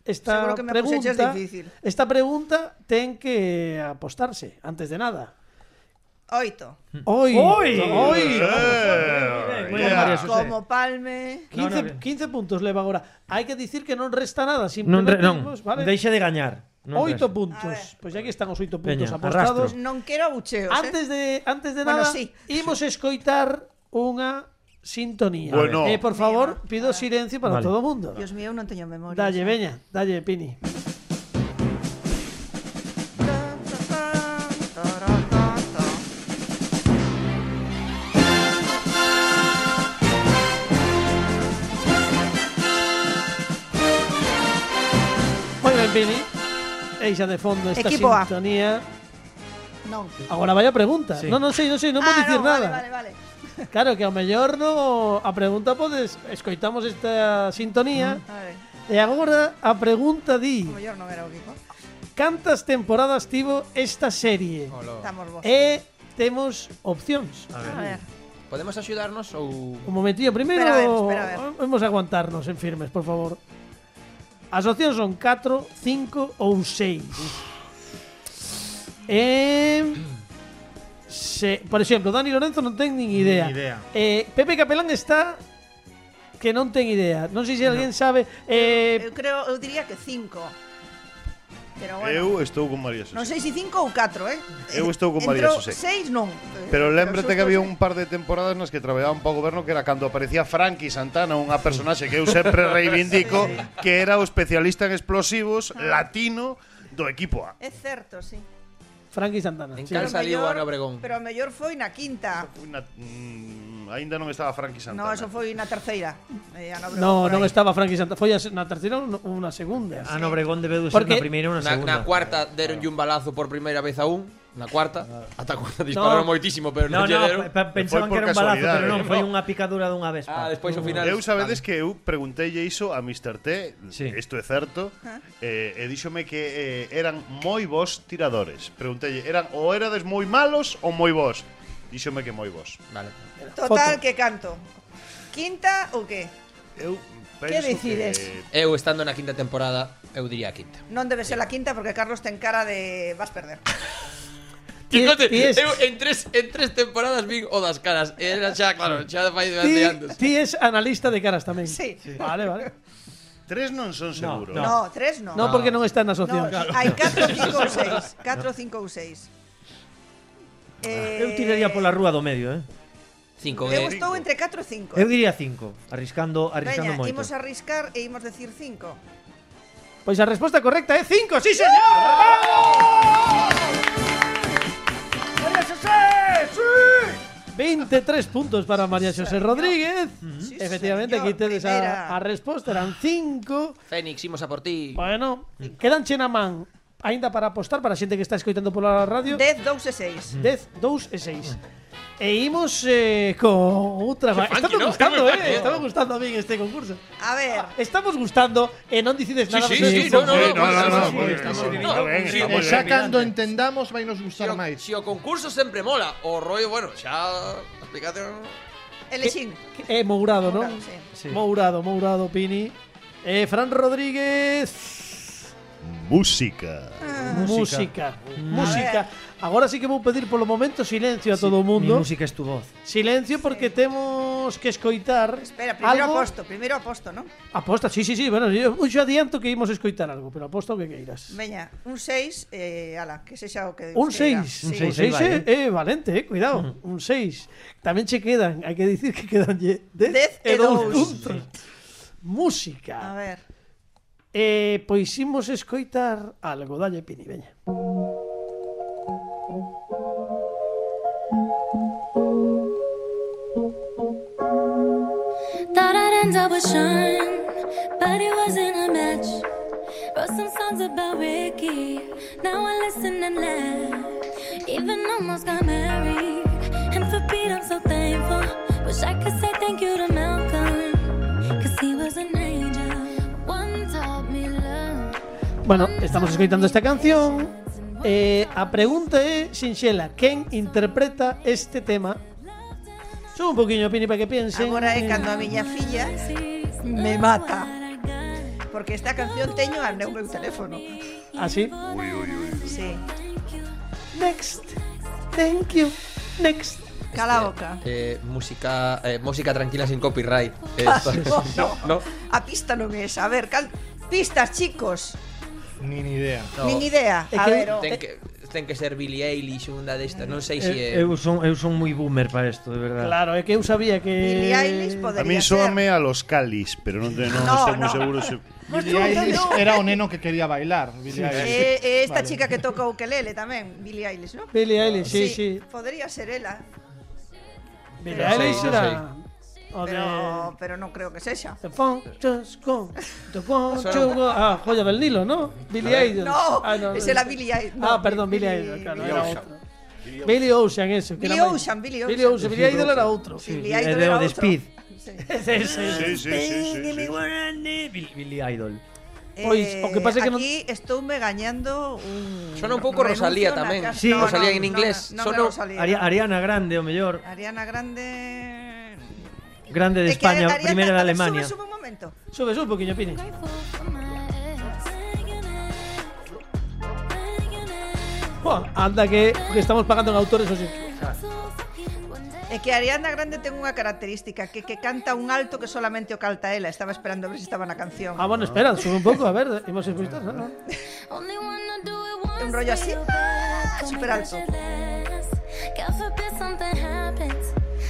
B: Esta
D: Seguro que me puxeches
B: pregunta
D: difícil.
B: Esta pregunta ten que apostarse Antes de nada
D: Oito.
C: Hmm.
B: Oi,
C: Oi!
B: oi.
E: Eh,
C: Moi ben,
E: yeah.
C: María José.
D: Como palme.
B: 15,
C: No, no, bien.
B: 15 puntos leva agora Hai que dicir que non resta nada
C: Non,
B: Simplemente
C: re, non,
B: vos, vale?
C: deixe de gañar. Non
B: Oito
C: resta.
B: puntos
D: A ver.
B: Pois aquí están os oito puntos
C: Veña,
B: apostados
C: arrastro.
D: Non quero abucheos, eh?
B: Antes de antes de
D: Bueno,
B: nada,
D: sí.
B: imos escoitar unha sintonía.
E: Bueno.
B: Eh, por favor, pido silencio para
C: Vale.
B: todo o mundo.
D: Dios mío, eu non teño memoria.
B: Dalle, veña, dalle, Pini.
D: Tan, tan, tan, taran, tan, tan.
B: Moi ben, Pini. Eixa de fondo esta
D: Equipo A.
B: sintonía.
D: Non.
B: Agora vai a pregunta.
C: Sí.
B: Non, non sei, non sei, non
D: ah,
B: vou dicir
D: non,
B: nada.
D: Vale, vale, vale.
B: Claro que ao mellor no a pregunta podes escoitamos esta sintonía
D: A ver,
B: e agora a pregunta di
D: o mellor non era o equipo.
B: cantas temporadas tivo esta serie?
D: Estamos vos.
B: E temos opcións.
C: A
D: A
C: ver.
D: ver.
G: Podemos axudarnos ou
B: Un momentillo, primero
D: Espera a ver, espera a ver.
B: vamos a aguantarnos en firmes, por favor. As opcións son 4, 5 ou 6. Eh, se, por exemplo, Dani Lorenzo non ten nin idea.
F: Nin idea.
B: Eh, Pepe Capelán está que non ten idea. Non sei se alguén sabe. Eh,
D: Eu creo, eu diría que cinco. Pero bueno.
E: Eu estou con María
D: Non
E: José.
D: sei se cinco ou catro, eh?
E: Eu estou con María
D: Entrou
E: José.
D: seis non. Eh,
E: Pero lembrete
D: xusto
E: que había
D: seis.
E: un par de temporadas nas que traballaban para o goberno que era cando aparecía Frankie Santana, unha personaxe que eu sempre reivindico, que era o especialista en explosivos
D: Ah.
E: latino do equipo A.
D: É certo, sí.
B: Frankie Santana.
G: En
B: sí.
G: cal
D: Pero
G: saliu
D: mellor-
G: Ana Obregón?
D: Pero a mellor foi na quinta.
E: Unha, mm, ainda non estaba Frankie
D: No,
E: Santana.
D: eso foi na terceira. Eh, Ana Obregón
B: No,
D: por
B: non
D: aí.
B: estaba Frankie Santana. Foi a se- na terceira ou na segunda.
C: Ana Ah, Obregón debe de ser
B: Porque-
C: na primeira ou na
G: Na, na
C: segunda.
G: cuarta deronlle un balazo por primeira vez a un Na cuarta, ata a cuarta dispararon
B: No.
G: moitísimo Pero
C: No,
G: non lle
C: no,
G: deron
C: pe- pensaban
E: Foi por
C: que era un balazo, pero
E: casualidade,
C: non,
E: eh.
C: foi unha picadura dunha
G: Ah,
C: vespa.
G: despois ao final
E: Eu sabedes que eu preguntei iso a Mr. T,
C: Sí.
E: isto é certo,
D: Ah.
E: eh, e díxome que eh, eran moi vos tiradores. Preguntei, eran ou erades moi malos ou moi vos? Díxome que moi vos.
G: Vale
D: Total,
B: Foto.
D: que canto. Quinta ou que?
E: Eu
D: Que
E: penso
D: decides?
E: Que...
G: Eu estando na quinta temporada, eu diría a quinta
D: Non debe ser a quinta porque Carlos ten cara de vas perder.
B: Ti-
G: Fíjate,
B: ti es-
G: eu en tres, en tres temporadas vin o das caras E Era xa, claro, xa fai de
B: Ti,
G: antes
B: ti es analista de caras tamén.
D: Sí.
B: Vale, vale.
E: Tres non son seguro.
C: no.
D: No, tres no.
B: No, porque non está na asociación.
D: No, hai 4, 5 ou 6. 4, 5 ou 6. Eh,
C: Eu tiraría pola rúa do medio, eh?
G: 5G.
D: Eu estou entre 4 e 5.
C: Eu diría 5, arriscando, arriscando
D: Veña,
C: moito.
D: imos arriscar e imos decir 5.
B: Pois a resposta Pues correcta é 5, sí señor.
C: María Xosé, sí!
B: 23 puntos para María José Rodríguez.
D: Sí,
B: Efectivamente,
D: señor,
B: aquí tedes
D: primera.
B: a, a resposta, eran 5.
G: Fénix, imos a por ti.
B: Bueno, quedan chena man aínda para apostar para a xente que está escoitando pola radio.
D: 10, 2 e 6.
B: 10, 2 e 6. E imos eh, con outra...
G: Que funky,
B: Estamos
G: ¿no?
B: gustando,
G: Que
B: eh?
G: funky.
B: Estamos gustando a min este concurso.
D: A ver,
B: Estamos gustando e non dicides nada.
G: sí,
B: vos
G: sí,
B: sois
G: no,
B: un
G: no, pues,
B: poco-
E: Sí, no, no, no,
G: sí, sí,
E: moi ben,
G: estamos-
E: moi ben,
G: no,
E: moi ben,
G: sí,
E: está moi
F: E xa
E: ben.
F: cando entendamos vai nos gustar
G: o-
F: máis.
G: si o concurso sempre mola, o rollo, bueno, xa explicación.
D: elexín.
B: É Eh, Mourado, non?
D: Mourado, sí.
C: Sí.
B: Mourado, Mourado, Pini. Eh, Fran Rodríguez.
E: Música.
D: Ah,
B: Música.
C: Música.
B: Música. Agora sí que vou pedir polo momento silencio a todo o
C: Mi
B: mundo.
C: música es tu voz.
B: Silencio porque temos que escoitar
D: Espera, primeiro
B: algo.
D: aposto, primeiro aposto, non?
B: Aposta, sí, sí, sí. Bueno, yo, yo adianto que imos escoitar algo, pero aposto o que queiras.
D: Veña, un 6, eh, ala, que sexa o que
B: Un
D: queira.
B: 6.
D: Sí.
B: Un
C: Un
B: 6
C: seis,
B: é
C: ahí va,
B: eh, valente, eh, cuidado. Un 6. Tamén che quedan, hai que dicir que quedan 10
D: Dez
B: e
D: e
B: 2
D: dous.
B: puntos.
D: A
B: Música.
D: ver.
B: Eh, pois imos escoitar algo, dalle Pini, veña.
I: Thought I'd end up with Sean, but it wasn't a match. Wrote some songs about Ricky, now I listen and laugh. Even almost got married, and for Pete I'm so thankful. Wish I could say thank you to Malcolm, cause he was an angel. One taught me love.
B: Bueno, estamos escoitando esta canción. Eh, a pregunta é sinxela, quen interpreta este tema? Sube un poquinho, Pini, para que piensen.
D: Agora é
B: Eh,
D: cando a miña filla me mata. Porque esta canción teño a no meu teléfono.
B: Así.
D: Sí.
B: Next. Thank you. Next.
D: Cala a boca.
G: Eh, música, eh, música tranquila sin copyright. Eh, no, no.
D: A pista non é esa. A ver, cal... pistas, chicos.
F: Ni ni idea.
G: no.
D: Nin idea.
B: É
D: A
B: que-
D: ver, o-
G: Ten que, ten que ser Billie Eilish ou unha desta, non
B: Eh,
G: sei se é...
C: Eh, Eu, eu son eu son moi boomer para isto, de verdade.
B: Claro, é que eu sabía que
D: Billie Eilish podería
E: A mí
D: ser.
E: soame a los calis, pero non te- non
D: No,
E: estou moi
D: no.
E: seguro se
F: Billie Eilish era o neno que quería bailar. Billie Eilish.
D: E, e Eh, esta
F: Vale.
D: chica que toca o ukelele tamén, Billie Eilish, ¿no?
B: Billie Eilish, sí, sí.
D: Podría ser ela,
B: Billie
D: Pero-
B: Eilish
G: Sí,
B: era
G: sí.
B: o de
D: pero, pero non creo que sexa.
B: The Funkus Go, The Funkus Go. Ah, joya del Nilo, ¿no? Billie Eilish.
D: ¿Eh? No,
B: Ah,
D: esa era Billie Eilish. No,
B: ah, perdón, Billie
D: Billie-
B: Eilish, claro,
D: Billie
B: era
H: Ocean.
B: otra. Billie Ocean, eso. que
D: Billie
B: era más-
D: Ocean, Billie
B: Billie
D: Ocean.
B: Ocean, Billie Idol era otro.
D: Sí,
C: Sí, é
D: Idol
C: de
D: era
C: o de
D: outro.
C: Speed.
D: Sí.
B: Ese, ese.
E: Sí, sí, sí, sí, sí.
C: Billy, Billy Idol.
B: Pois, o que pasa é que non-
D: Eh, aquí estoume gañando un
G: Sona un pouco
D: renuncio
G: Rosalía
D: na
G: tamén.
D: casa.
C: Sí.
G: Rosalía en inglés.
D: No, no,
G: Sona-
D: no, Rosalía.
C: Ari- Ariana Grande, o mellor.
D: Ariana Grande
C: Grande de
D: É que
C: España,
D: Ariana-
C: primeira de
D: a ver,
C: Alemania.
D: Sube, sube un momento.
B: Sube, sube un poquillo, Pini.
I: Grateful for my ex. Thinking it, thinking it.
B: Buah, anda que, que estamos pagando en autores, o sí.
I: One day
D: É que Ariana Grande ten unha característica que que canta un alto que solamente o calta ela. Estaba esperando a ver se estaba na canción.
B: Ah, bueno, espera, sube un poco, a ver, hemos escuchado, ¿no? no.
I: Only wanna do it once.
D: Un rollo así,
I: real
D: ah,
I: fast.
D: super alto.
I: God forbid something happens.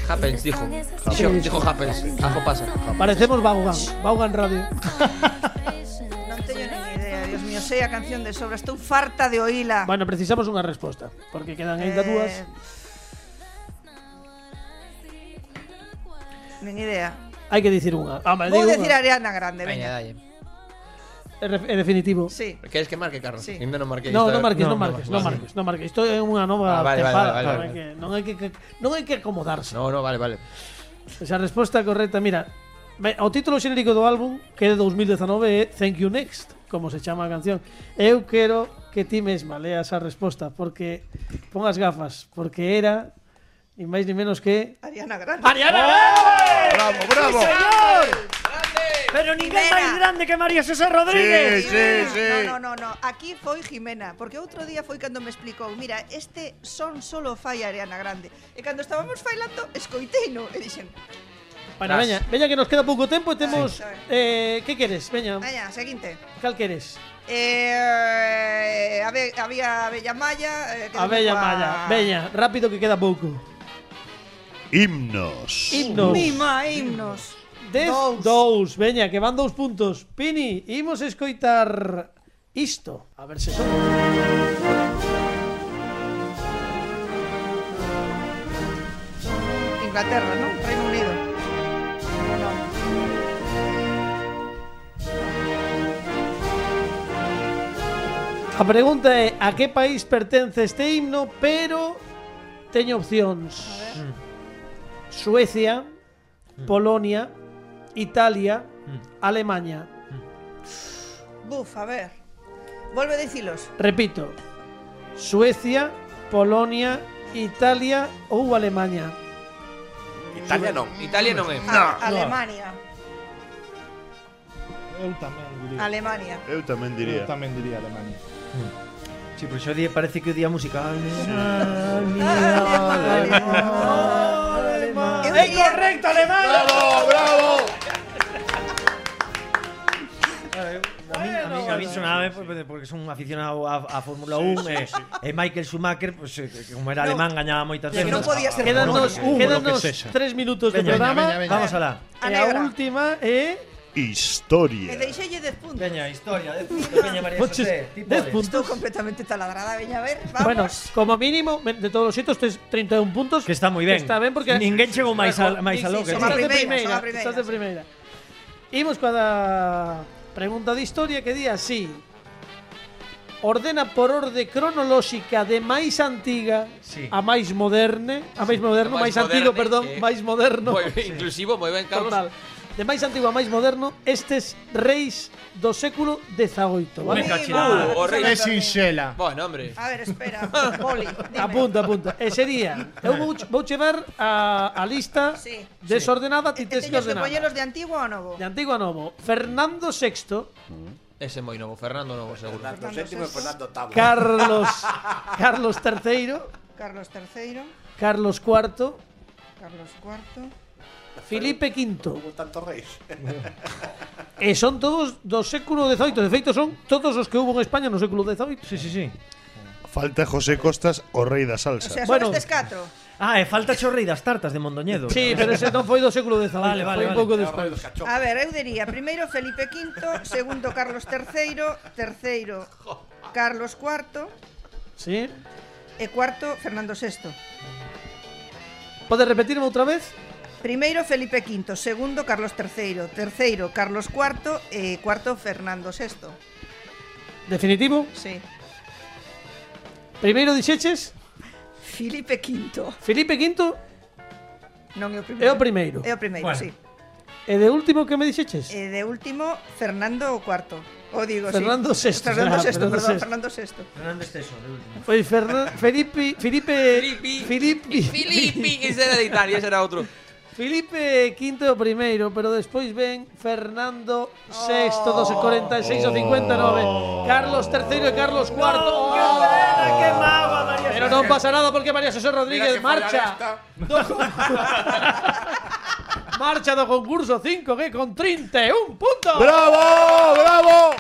G: Happens, dijo. Dijo, dijo happens. Algo pasa.
B: Parecemos Vaughan, Vaughan Radio.
D: Non teño nin idea, Dios mío, sei a canción de sobra, estou farta de oíla.
B: Bueno, precisamos unha resposta, porque quedan
D: Eh,
B: ainda dúas.
D: Nin idea.
B: Hai que dicir unha. Ah, me
D: Vou
B: digo
D: decir
B: unha.
D: Ariana Grande,
G: Veña,
D: veña.
G: dalle.
B: En re- en definitivo.
D: Sí.
G: Queres que marque, Carlos?
D: Sí.
G: Ainda non marquei.
B: No,
G: esta-
B: non marques,
C: No,
B: non
C: no,
B: marques,
G: vale.
B: non marques, non marques. Isto é unha nova
G: Ah, vale, vale,
B: tempada,
G: vale,
B: non hai
G: vale.
B: que- non hai que non hai que acomodarse.
G: No, no, vale, vale.
B: Esa resposta correcta, mira, ve- o título xenérico do álbum que é de 2019 é Thank You Next, como se chama a canción. Eu quero que ti mesma leas a resposta porque pon as gafas, porque era ni máis ni menos que
D: Ariana Grande.
B: Ariana
C: ¡Oh!
E: Bravo, bravo.
C: Pero ninguén
D: Mira.
C: máis grande que María José
E: Sí,
C: Rodríguez.
E: sí, sí.
D: No, no, no, no, aquí foi Jimena, porque outro día foi cando me explicou, mira, este son solo fai a Ariana Grande. E cando estábamos failando, escoiteino e dixen,
B: Bueno,
G: Tras.
B: veña, veña que nos queda pouco tempo e temos
D: Sí.
B: eh, que queres? Veña,
D: Veña, seguinte.
B: cal queres?
D: Eh, a ver, había Bella Maya. eh, que
B: A
D: non me
B: veña,
D: coa-
B: malla, veña, rápido que queda pouco.
E: Himnos.
B: Himnos.
D: Mima, himnos.
B: Dez,
D: Dous.
B: dous, veña, que van dous puntos. Pini, imos escoitar isto. A ver se son.
D: Inglaterra, non? Reino Unido. Non.
B: A pregunta é a que país pertence este himno, pero teño opcións. Mm. Suecia, Polonia, Italia, Alemania.
D: Buf, a ver. Volve a dicilos.
B: Repito, Suecia, Polonia, Italia ou Alemania.
H: Italia non.
G: Italia non é.
D: A- Alemania.
F: Eu tamén diría.
D: Alemania.
E: Eu tamén
F: Eu
E: diría.
F: tamén diría Alemania.
C: Sí, pero xo día parece que o día musical. Ah.
D: Ah, Eu diría,
H: ¡Bravo, bravo!
C: A mí, a mí, a mí sonaba eh, porque son un aficionado a, a Fórmula 1 e, e Michael Schumacher, pues, eh, que como era
D: No.
C: alemán, gañaba moitas
D: Que
C: veces.
D: non podía ser
B: Quedan
C: No,
B: nos,
C: que-
F: Uh,
B: quedan
F: lo que
B: nos
F: sexa.
B: tres minutos de
C: Veña,
B: programa.
F: veña, veña.
C: Vamos alá.
B: E
D: a
B: a
D: negra.
B: última eh, é...
D: E
E: Historia.
D: deixelle 10 puntos.
C: Veña, historia, de puntos, veña María
B: Moches,
C: José. ti
B: dez
C: podes.
B: puntos.
D: Estou completamente taladrada, veña, a ver. Vamos.
B: Bueno, como mínimo, de todos os xeitos, tes 31 puntos.
C: Que está moi
B: Que
C: ben.
B: Está ben porque...
C: Ninguén chegou máis a- máis
B: Sí,
C: aló
B: sí,
C: que
B: Estás
D: ti.
B: de
D: Son a primeira,
B: primeira,
D: son a primeira,
B: estás de
D: sí.
B: primeira. Imos coa pregunta de historia que di así. Ordena por orde cronolóxica de máis antiga
C: Sí.
B: a máis moderne, a máis moderno,
G: A máis
B: máis, antigo,
G: moderne,
B: perdón,
G: eh,
B: máis moderno.
G: Moi ben, inclusivo, moi ben, Carlos.
B: Total. De máis antigo a máis moderno, estes reis do século XVIII, vale?
C: Me
D: Uy,
C: cacho en nada.
D: va,
G: O rei.
F: É
D: Alemania.
F: sinxela.
G: Bueno, hombre.
D: A ver, espera. Poli, dime.
B: Apunta, apunta. E sería, eu vou, vou chevar a, a lista
D: Sí.
B: desordenada, ti
D: E
B: tes que
D: teñes que
B: ordenar.
D: poñelos de antigo a novo.
B: De antigo a novo, Fernando VI,
G: Ese é moi novo, Fernando novo, seguro.
H: Fernando VII e Fernando VIII.
B: Carlos Carlos III,
D: Carlos III,
B: Carlos IV,
D: Carlos IV.
B: Felipe V.
H: Como tantos reis.
B: E son todos do século XVIII, de feito son todos os que hubo en España no século XVIII.
C: Sí, sí, sí.
E: Falta José Costas, o rei da
D: O
E: salsa.
D: sea,
B: Bueno.
D: son estes catro.
C: Ah, e falta xo rei das tartas de Mondoñedo.
B: Sí, pero ese non foi do século XVIII,
C: Vale, vale,
B: foi un
C: vale.
B: pouco
H: Era o rei
B: despois.
H: dos cachorros.
D: A ver, eu diría primeiro Felipe V, segundo Carlos III, terceiro Carlos IV
B: Sí.
D: e cuarto Fernando VI.
B: Podes repetirme outra vez?
D: Primeiro Felipe V, segundo Carlos III, terceiro Carlos IV e cuarto Fernando VI.
B: Definitivo.
D: Sí.
B: Primeiro dixeches
D: Felipe V.
B: Felipe V
D: Non é o primeiro.
B: é o primeiro.
D: É o primeiro,
C: Bueno.
D: sí.
B: E de último que me dixeches?
D: E de último Fernando IV. O digo,
B: Fernando
D: sí.
B: VI.
D: Fernando
B: Ah,
D: VI,
B: Fernando
D: perdón,
B: VI.
D: Fernando VI.
C: Fernando Esteso, de último.
B: Foi Fernan- Felipe Felipe
G: Filipe.
B: Filipe
G: Filippi, ese era de Italia, ese era outro.
B: Felipe V é o primeiro, pero despois ven Fernando VI dos 46 ou 59, Carlos III e Carlos IV.
C: Que mágoa, María
B: Pero non pasa nada porque María José Rodríguez
H: Mira que fallar
B: marcha.
H: esta.
B: do con- marcha do concurso 5 que con 31 puntos.
E: ¡Bravo! ¡Bravo!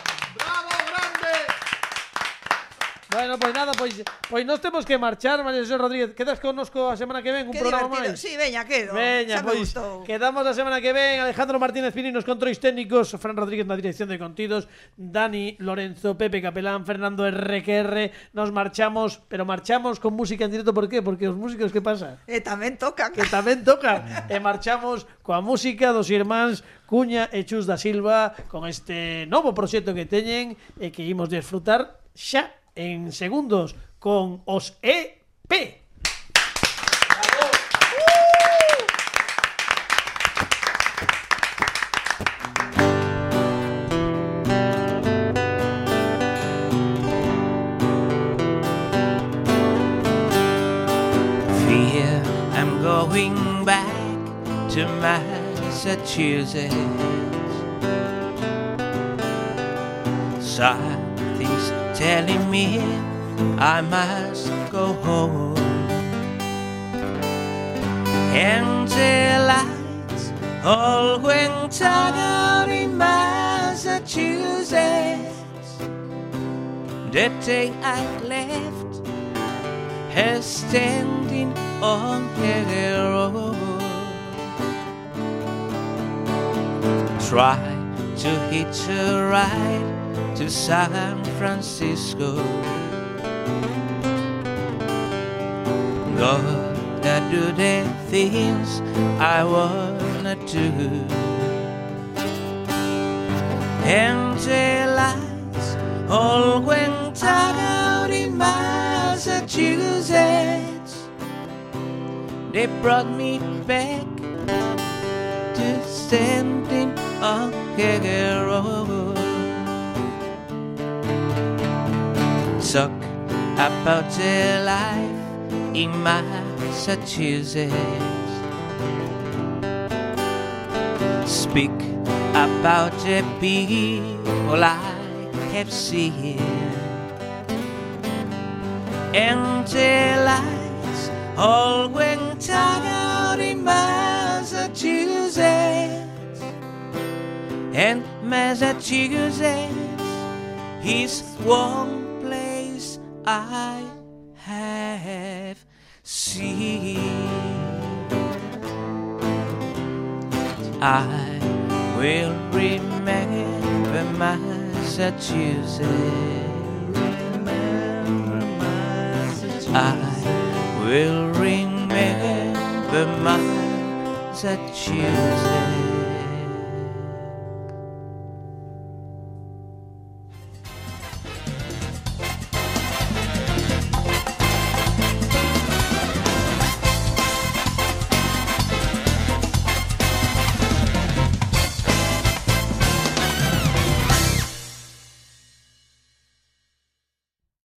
B: Bueno, pois nada, pues, pois pois nós temos que marchar, María José Rodríguez. Quedas connosco a semana que ven un
D: Que
B: programa
D: divertido.
B: máis.
D: Sí, veña, quedo.
B: Veña,
D: Xa me
B: pois
D: gustou.
B: quedamos a semana que ven Alejandro Martínez Pini nos controis técnicos Fran Rodríguez na dirección de contidos Dani Lorenzo, Pepe Capelán, Fernando RQR Nos marchamos, pero marchamos con música en directo ¿Por qué? Porque os músicos que pasa?
D: E tamén tocan.
B: Que tamén tocan E marchamos coa música dos irmáns Cuña e Chus da Silva Con este novo proxecto que teñen E que imos disfrutar xa en segundos Con os EP
J: fear I'm going back to Massachusetts. Something's telling me I must go home. And the lights
C: All went out in Massachusetts. The day I left, her standing on the road. Try to hitch a ride to San Francisco. Gotta do the things I wanna do. And the lights all went out in Massachusetts. They brought me back to standing on the road. Talk about the life in Massachusetts. Speak about the people I have seen. And the lights all went out in Massachusetts. And Massachusetts is one place I have seen. I will remember Massachusetts. I will remember Massachusetts.